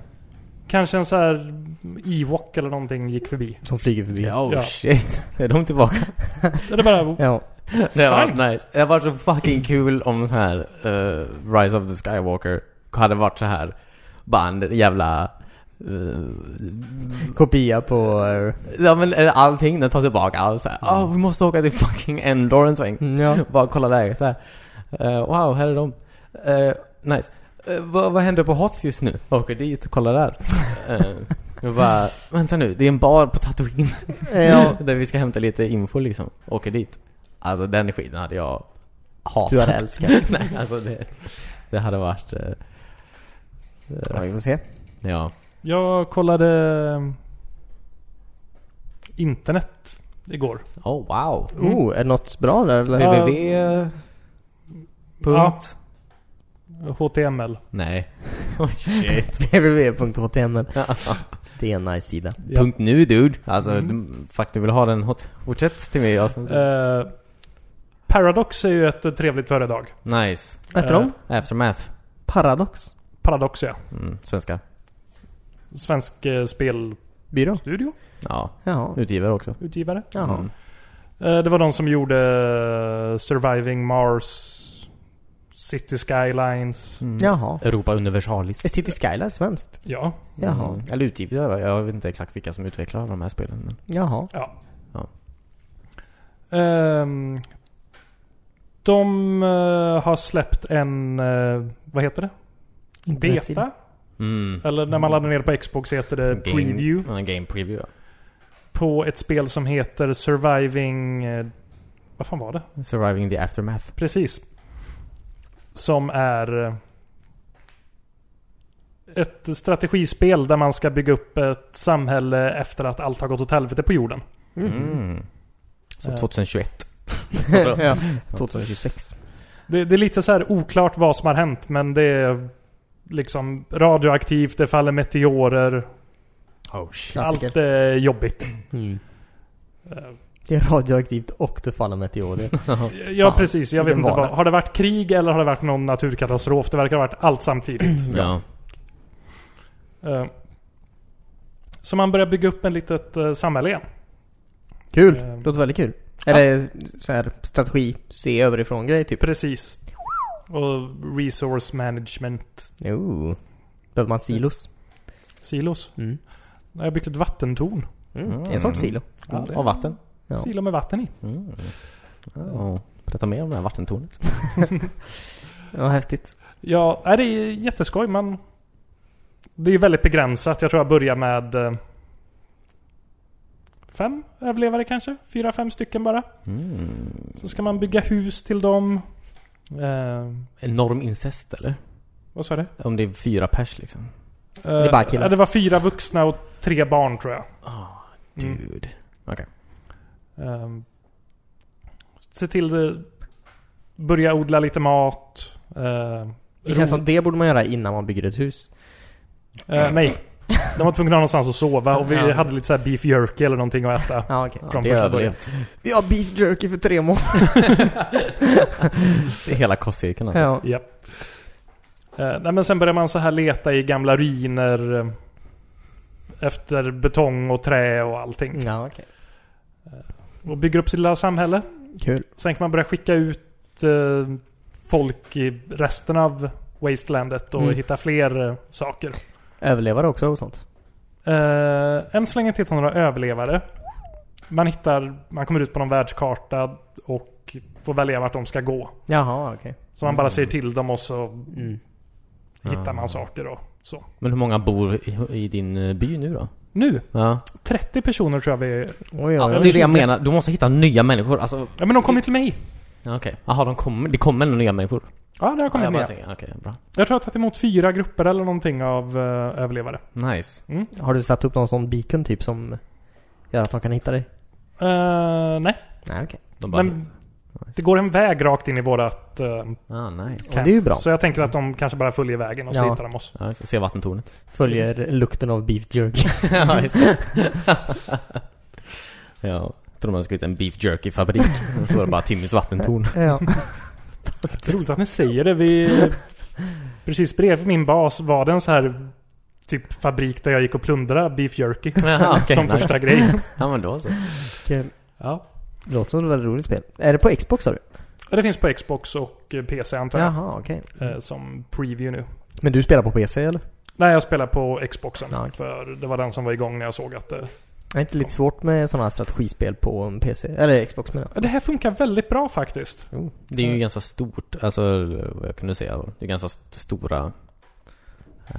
Kanske en så här Ewok eller någonting gick förbi.
Som flyger förbi.
ja. Oh
Ja.
shit. Är de tillbaka?
Det är bara...
Ja.
(laughs) Det var
Fine.
nice. Det var så fucking kul om så här eh, Rise of the Skywalker hade varit så här bara en jävla eh,
Kopia på... eh,
Ja men eh, allting, den tar tillbaka allt såhär. Åh, vi måste åka till fucking Endor en sväng.
mm, (laughs) ja.
Bara kolla läget där. Eh, wow, här är de. Eh, nice. Eh, vad, vad händer på Hoth just nu? Jag åker dit och
(laughs)
kollar där. Eh, jag bara, vänta nu, det är en bar på Tatooine.
ja.
där vi ska hämta lite info liksom. Åker dit. Alltså den skiten hade jag hatat. (laughs)
Du hade älskat.
Nej, alltså det, det hade varit... eh,
ja, vi får se.
ja.
Jag kollade... eh, Internet igår.
Oh wow.
Oh, är det något bra där eller?
Ja.
www... eh, Punkt.
HTML.
Nej. Oh
(laughs)
shit.
www.html Det är en nice sida.
Ja.
Punkt nu dude. Alltså, mm. fuck du vill ha den hot. Fortsätt till mig. Alltså.
Eh, Paradox är ju ett eh, trevligt företag.
nice.
Vad heter
Eh,
de?
Aftermath.
Paradox.
Paradox ja.
Mm, svenska.
Svensk eh, spelstudio.
Byrå.
Ja.
Jaha.
Utgivare också.
Utgivare.
Jaha.
Mm.
Eh, Det var de som gjorde eh, Surviving Mars, City Skylines.
Jaha.
Europa Universalis.
Är City Skyline svenskt?
Ja,
Jaha.
Mm. Eller utgivare. va? Jag vet inte exakt vilka som utvecklar de här spelen. Men...
Jaha.
Ja.
Ja.
Ehm, de eh, har släppt en, eh, vad heter det?
Internetsida.
Beta?
Mm.
Eller när man laddar ner det på Xbox heter det Preview.
Game, ja, game preview
På ett spel som heter Surviving... eh, Vad fan var det?
ja. Surviving the aftermath.
Precis. Som är eh, ett strategispel där man ska bygga upp ett samhälle efter att allt har gått åt helvete på jorden.
Mm. Så
Eh.
2021.
(laughs) ja. 2026.
Det, det är lite så här oklart vad som har hänt men det är liksom radioaktivt, det faller meteorer,
Oh shit.
Klassiker.
allt är jobbigt.
Mm.
Eh,
Det är radioaktivt och det faller meteorer.
Ja
Fan,
precis, jag vet
vilken
inte.
vardag.
Vad, har det varit krig eller har det varit någon naturkatastrof? Det verkar ha varit allt samtidigt.
(laughs) Mm. Ja.
Eh, Så man börjar bygga upp en litet eh, samhälle igen.
Kul.
Ehm.
Låter väldigt kul. Eller så här strategi, se överifrån grej typ.
Precis. Och resource management
Jo. Behöver man silos?
silos.
Mm.
Jag har byggt ett vattentorn.
Mm.
Mm.
En sorts silo.
Ja,
Av vatten.
Ja.
Silo med vatten i.
Mm. Ja. Berätta mer om det här vattentornet.
Ja, häftigt.
Ja, nej, det är jätteskoj men det är ju väldigt begränsat. Jag tror jag börjar med eh, fem överlevare kanske. Fyra, fem stycken bara.
Mm.
Så ska man bygga hus till dem. Eh,
Enorm incest eller?
vad sa du? Eh,
Om det är fyra pers liksom.
det,
bara killar.
det var fyra vuxna och tre barn tror jag.
Ah,
Mm.
dude. Okej.
Ehm, se till det. Börja odla lite mat. Ehm,
Det känns
ro-
som det borde man göra innan man bygger ett hus.
eh, nej. De var tvungna att ha någonstans att sova och vi
Ja.
hade lite så här beef jerky eller någonting att äta.
Ja, okej.
Från
det är
första
överlevt.
Vi har beef jerky för tre månader.
Det är hela kostcirkeln alltså.
Ja.
Japp. Eh, nej, men sen börjar man så här leta i gamla ruiner. eh, Efter betong och trä och allting.
Ja, okej.
Och bygger upp sitt lilla samhälle.
Kul.
Sen kan man börja skicka ut eh, folk i resten av Wastelandet och
Mm.
hitta fler eh, saker.
Överlevare också och sånt.
Eh, än så länge inte hittat några överlevare. Man hittar, man kommer ut på någon världskarta och får välja vart de ska gå.
Jaha, okej.
Så man
Mm.
bara säger till dem och så
Mm.
hittar
Ah.
man saker och så.
Men hur många bor i, i din eh, by nu då?
Nu,
Ja.
30 personer tror jag vi...
Oj,
Ja,
oj,
det är det
oj.
jag menar. Du måste hitta nya människor. Alltså,
Ja men de kommer ju till mig!
ja, okej. Jaha, de kommer, det kommer ändå nya människor?
Ja, det har
Ja,
kommit
jag bara
med.
tänker, Okej, bra.
Jag tror jag har tagit emot fyra grupper eller någonting av eh, överlevare.
Nice.
Har du satt upp någon sån beacon typ som gör att de kan hitta dig?
Eh, nej,
Nej, okej.
De bara,
men det går en väg rakt in i vårat eh,
ah, nice.
Ja, det är ju bra.
Så jag tänker att de kanske bara följer vägen och så
Ja.
hittar de oss.
Ja, just det. se vattentornet. (laughs)
Följer lukten av beef jerky.
ja, just det. (laughs) ja, trodde man skulle hitta en beef jerky-fabrik. Och Så var det bara Timmys vattentorn.
(laughs) ja.
Det är roligt att ni säger det. Vi, (laughs) precis bredvid min bas var det en så här typ fabrik där jag gick och plundrade beef jerky.
Jaha,
(laughs)
okej,
som
nice.
första grej.
(laughs) Ja, men då så.
Kul.
Ja.
Det låter som ett väldigt roligt spel. Är det på Xbox sa du?
Det finns på Xbox och eh, PC antar jag.
Jaha, okej.
eh, Som preview nu.
Men du spelar på PC eller?
Nej, jag spelar på Xboxen.
Ja, okej.
För det var den som var igång när jag såg att det...
Är det inte lite svårt med sådana här strategispel på en PC? Eller Xbox menar
Det här funkar väldigt bra faktiskt.
jag. Oh.
Det är ju ganska stort, alltså vad jag kunde säga. Det är ganska st- stora... Eh,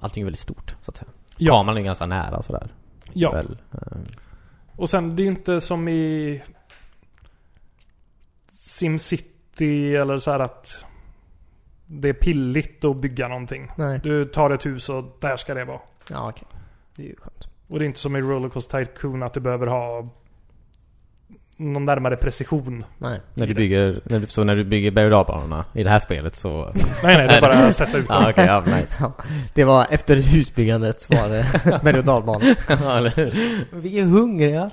allting är väldigt stort, så att säga.
Ja.
Kameran är ganska nära och sådär.
Ja.
Väl, eh,
Och sen, det är ju inte som i... SimCity eller så här att... Det är pilligt att bygga någonting.
Nej.
Du tar ett hus och där ska det vara.
Ja, okej. Det är ju skönt.
Och det är inte som i Rollercoaster Tycoon att du behöver ha någon närmare precision.
(laughs) Nej.
När du bygger, när du, så när du bygger berg och dalbanorna i det här spelet (laughs) så...
Nej, nej, det är bara att sätta ut dem.
(laughs) Ja Ah, okej, ja nice.
Så, det var efter husbyggandet så var (laughs) det berg och dalbana.
Ja, eller (laughs) hur? Vi är hungriga.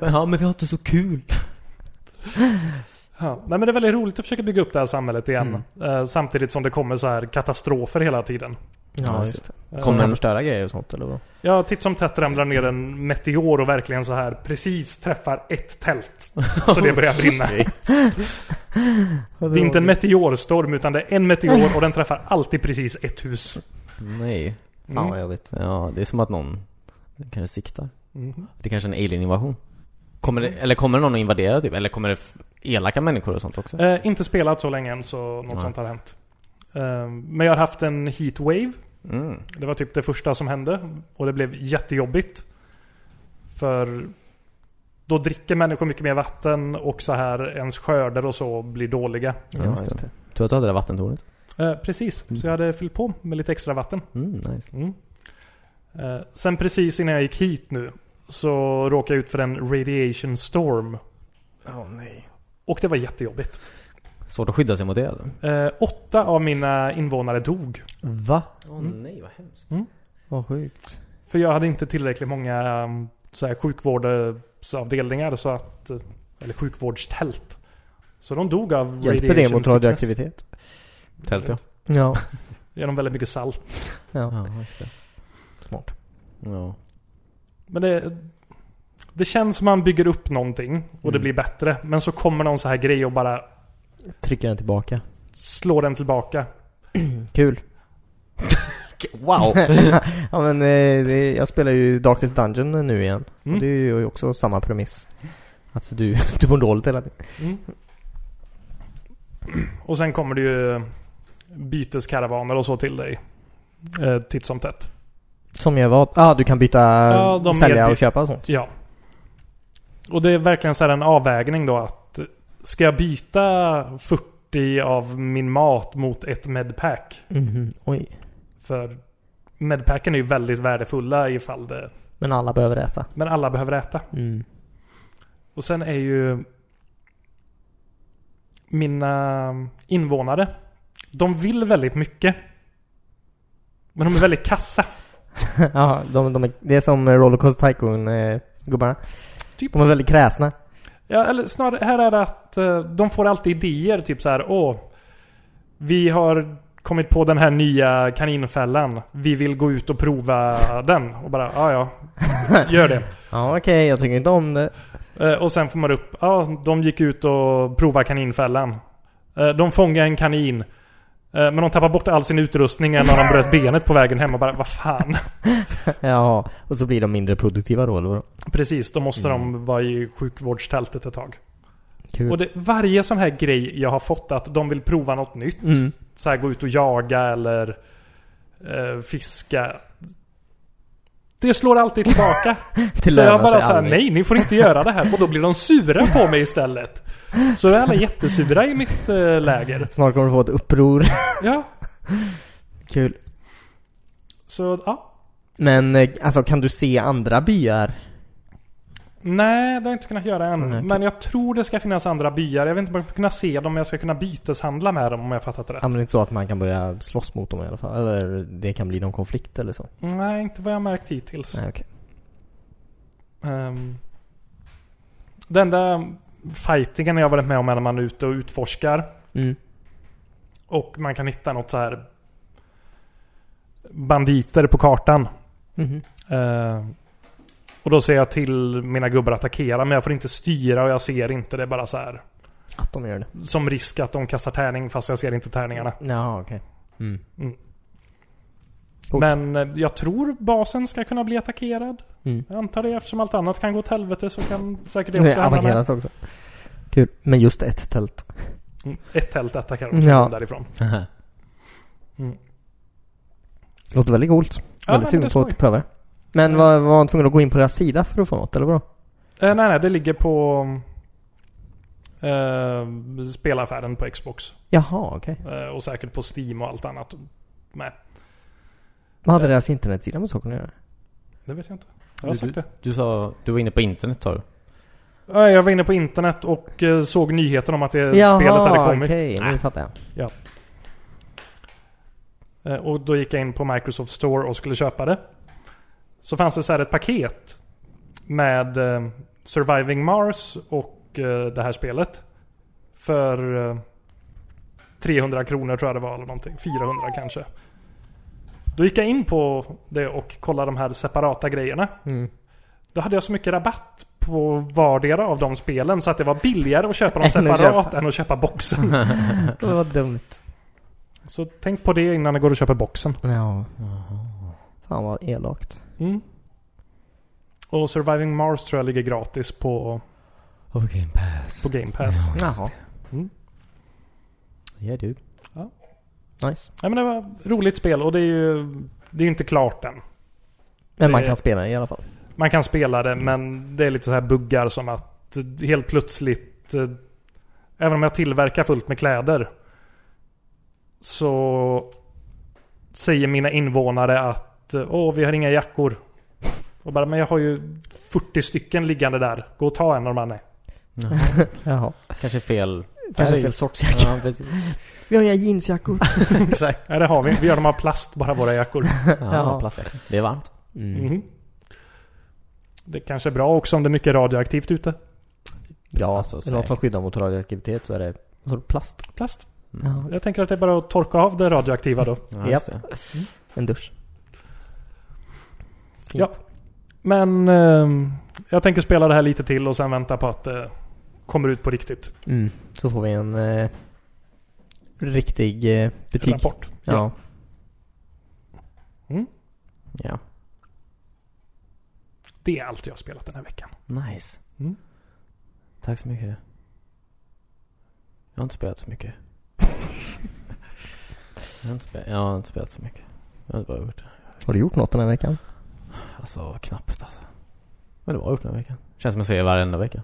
Ja men vi har inte så kul.
Ja. Nej, men det är väldigt roligt att försöka bygga upp det här samhället igen.
Mm.
Eh, samtidigt som det kommer så här katastrofer hela tiden.
Ja,
Ja,
just
just det.
Eh,
Kommer
Kommer
den-
den förstöra grejer och sånt eller vad?
Ja, titt som tätt ramlar ner en meteor och verkligen så här precis träffar ett tält. Så det börjar
(laughs)
brinna. Det är inte en meteorstorm utan det är en meteor och den träffar alltid precis ett hus.
Nej.
Fan vad jobbigt.
Mm. Ja, det är som att någon kanske siktar.
Mhm.
Det är kanske är en alien-invasion. Kommer det, eller kommer någon att invadera typ? Eller kommer det f- elaka människor och sånt också?
Eh, inte spelat så länge än så något
Nej.
sånt har hänt. Eh, men jag har haft en heatwave.
Mm.
Det var typ det första som hände och det blev jättejobbigt. För då dricker människor mycket mer vatten och så här ens skörder och så blir dåliga.
Ja,
Ja, just
just
det.
Tur att du hade det där vattentornet.
Eh, precis, så jag hade fyllt på med lite extra vatten.
Mm, nice.
Mm. Eh, sen precis innan jag gick hit nu så råkade jag ut för en radiation storm.
Oh, nej.
Och det var jättejobbigt.
Svårt att skydda sig mot det alltså.
Eh, åtta av mina invånare dog.
Va?
Åh
Mm.
nej, vad hemskt.
Vad sjukt.
För jag hade inte tillräckligt många um, så här, sjukvårdsavdelningar så att... eh, Eller sjukvårdstält. Så de dog av
Hjälper det mot
sickness.
radioaktivitet?
Tält ja.
Ja.
Genom väldigt mycket salt.
ja.
Ja, just det.
Smart.
Ja.
Men det... Det känns som man bygger upp någonting och det
Mm.
blir bättre. Men så kommer någon så här grej och bara
Trycker den tillbaka.
slår den tillbaka.
Kul.
Wow!
(laughs) ja men eh, det, jag spelar ju Darkest Dungeon nu igen.
Mm.
Och det är ju också samma premiss. Att du, (laughs) du mår dåligt hela tiden.
Mm. Och sen kommer det ju byteskaravaner och så till dig. Eh, titt som tätt.
Som jag var... Ah, du kan byta,
Ja, de
sälja
erbjud-
och köpa och sånt.
Ja. Och det är verkligen så här en avvägning då att ska jag byta 40 av min mat mot ett medpack?
Mhm. Oj.
För medpacken är ju väldigt värdefulla ifall det...
Men alla behöver äta.
Men alla behöver äta.
Mm.
Och sen är ju mina invånare, de vill väldigt mycket. Men de är väldigt kassa.
(laughs) ja, de, de är, det är som Rollercoaster Tycoon eh, gubbarna.
Typ.
De är väldigt kräsna.
Ja, eller snarare här är det att eh, de får alltid idéer. Typ så här, åh. Vi har kommit på den här nya kaninfällan. Vi vill gå ut och prova (laughs) den. Och bara, ja ja. Gör det.
Ja okej, jag tycker inte om (laughs) det.
Eh, Och sen får man upp, ja de gick ut och provade kaninfällan. Eh, De fångade en kanin. Eh, Men de tappade bort all sin utrustning när de bröt benet på vägen hem och bara vad fan. (laughs)
Jaha, och så blir de mindre produktiva då eller vadå?
Precis, då måste de vara i sjukvårdstältet ett tag.
Kul.
Och det, varje sån här grej jag har fått att de vill prova något nytt.
Mm.
Så här gå ut och jaga eller eh, fiska. Det slår alltid tillbaka.
(laughs) Det
så jag
lönar
bara
sig
såhär,
aldrig.
nej ni får inte göra det här. Och då blir de sura på mig istället. Så är alla jättesura i mitt eh, läger.
Snart kommer du få
(laughs)
ett uppror.
Ja,
Kul.
så ja.
Men eh, alltså kan du se andra byar?
Nej, det har jag inte kunnat göra än.
Mm, okej.
Men jag tror det ska finnas andra byar. Jag vet inte om jag kommer kunna se dem, men jag ska kunna byteshandla med dem om jag fattat det rätt.
Ja, men inte så att man kan börja slåss mot dem i alla fall? Eller det kan bli någon konflikt eller så?
Nej, inte vad jag har märkt hittills.
Nej okej.
Um, den enda fightingen jag har varit med om är när man är ute och utforskar.
Mm.
Och man kan hitta något så här banditer på kartan.
Mhm.
Eh, och då säger jag till mina gubbar att attackera, men jag får inte styra och jag ser inte. Det är bara så här
Att de gör det?
som risk att de kastar tärning fast jag ser inte tärningarna.
Jaha okej. Mm. Coolt.
Men eh, jag tror basen ska kunna bli attackerad.
Mm.
Jag antar det eftersom allt annat kan gå åt helvete så kan säkert det
Det
också hända med.
attackeras också. Kul. Men just ett tält.
Mm, Ett tält attackerar också
Ja.
ja. därifrån.
Låter väldigt coolt.
Ja,
väldigt
nej, men
sugen
det
på
ska
att pröva det. Men var, var man tvungen att gå in på deras sida för att få något eller vadå?
Eh, nej, nej, det ligger på eh, spelaffären på Xbox.
Jaha okej.
Eh, och säkert på Steam och allt annat. Nej,
Vad
Eh.
hade deras internetsida med saken att göra?
det vet jag inte. Jag har sagt det.
(laughs) Du sa, du var inne på internet sa du?
Ja, Jag var inne på internet och eh, såg nyheten om att det spelet hade kommit.
okej. Nu fattar
Eh,
jag.
Och då gick jag in på Microsoft Store och skulle köpa det. Så fanns det så här ett paket med eh, Surviving Mars och eh, det här spelet. För eh, 300 kronor tror jag det var eller någonting. 400 kanske. Då gick jag in på det och kollade de här separata grejerna.
Mm.
Då hade jag så mycket rabatt på vardera av de spelen så att det var billigare att köpa
(laughs) Än
dem
att
separat än att köpa boxen.
Det var dumt.
Så tänk på det innan ni går och köper boxen.
Ja. Fan vad elakt.
Mm. Och Surviving Mars tror jag ligger gratis på,
Over Game Pass.
på Game Pass.
Jaha.
Ja du.
Nice.
Ja, men det var ett roligt spel och det är ju det är ju inte klart än.
Men man
Det-
kan spela i alla fall.
Man kan spela det men det är lite så här buggar som att helt plötsligt eh, Även om jag tillverkar fullt med kläder Så säger mina invånare att eh, Åh, vi har inga jackor. Och bara, men jag har ju 40 stycken liggande där. Gå och ta en av de här. Nej.
Jaha.
Kanske fel.
Kanske
färg.
fel sorts jacka.
Ja, precis.
(laughs) Vi har inga jeansjackor.
(laughs) Exakt.
Nej, det har vi. Vi gör dem av plast, bara våra jackor.
Ja.
Ja, plastjacka. Det är varmt.
Mm.
Mhm. Det kanske är bra också om det är mycket radioaktivt ute.
Ja,
Ja,
så
så
säg.
något som skyddar mot radioaktivitet så är det vad sa du, plast.
Plast.
Ja.
Jag tänker att det är bara att torka av det radioaktiva då.
Mm. Ja, just det.
En dusch. Fint.
Ja. Men ehm, jag tänker spela det här lite till och sen vänta på att det kommer ut på riktigt.
Mm. Så får vi en eh, riktig eh, betyg.
Rapport.
Ja.
Ja.
Det är allt jag har spelat den här veckan.
Nice.
Mm.
Tack så mycket. Jag har inte spelat så mycket. jag, har inte spe- jag har inte spelat så mycket. Jag har bara gjort
Har du gjort något den här veckan?
Alltså knappt alltså. Men det var gjort den här veckan. Känns som jag säger varenda vecka.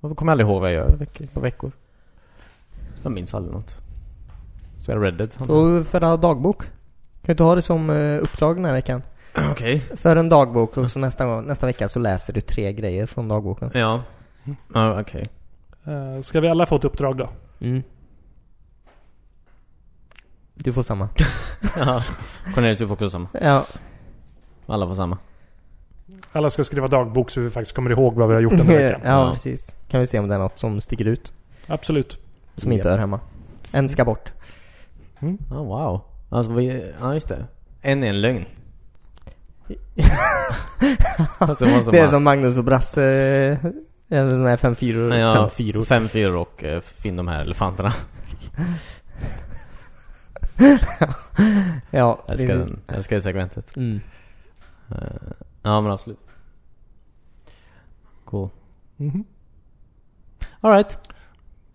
Varför kommer jag aldrig ihåg vad jag gör veck- på veckor? Jag minns aldrig något. Så jag Red Dead. antar jag.
Och föra dagbok. Kan du inte ha det som eh, uppdrag den här veckan?
Okej.
För en dagbok och så nästa, gång- nästa vecka så läser du tre grejer från dagboken.
Ja. Ja, okej.
Eh, ska vi alla få ett uppdrag då?
Mm. Du får samma.
Ja. Cornelius, du får också samma.
(laughs) Ja.
Alla får samma.
Alla ska skriva dagbok så vi faktiskt kommer ihåg vad vi har gjort
(laughs)
den här
ja,
veckan.
Ja.
precis. Kan vi se om det är något som sticker ut.
Absolut.
Som inte
Japp.
hör hemma. En ska bort.
Mm.
Ja, wow. Alltså vi... Ja, just det. En är en (laughs) lögn. alltså, det var
Det är
bara-
som Magnus och Brasse. eh, Eller de här fem fyror.
Nej, ja,
Fem fyror.
Fem fyror och eh, finn de här elefanterna.
Ja,
Jag älskar,
precis.
den, jag älskar det segmentet.
Mm.
Eh, Ja men absolut. Cool.
Mhm.
Alright.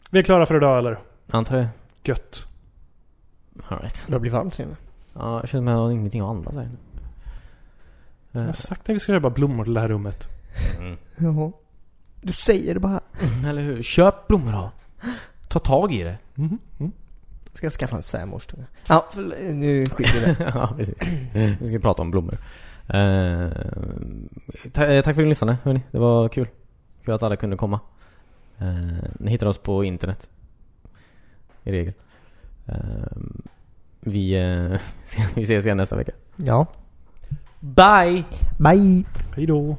Vi är klara för idag eller?
Antar det.
Gött.
Alright.
Det blir varmt inne.
Ja, jag känner mig att jag har ingenting att andas här.
Jag
Uh,
har sagt att vi ska köpa blommor till det här rummet.
mm.
Jaha. Du säger det bara.
Eh, (laughs) Eller hur? Köp blommor då. Ta tag i det.
Mhm. Mm.
Ska jag skaffa en svärmorstunga? Ja, förl- nu skiter
(laughs)
vi i det.
ja, precis. Vi ska prata om blommor. Eh, ta- eh, tack för att ni lyssnade hörni. Det var kul. Kul att alla kunde komma. Eh, ni hittar oss på internet. I regel. Eh, vi, eh, (laughs) vi ses igen nästa vecka.
Ja.
Bye!
Bye!
Hej då.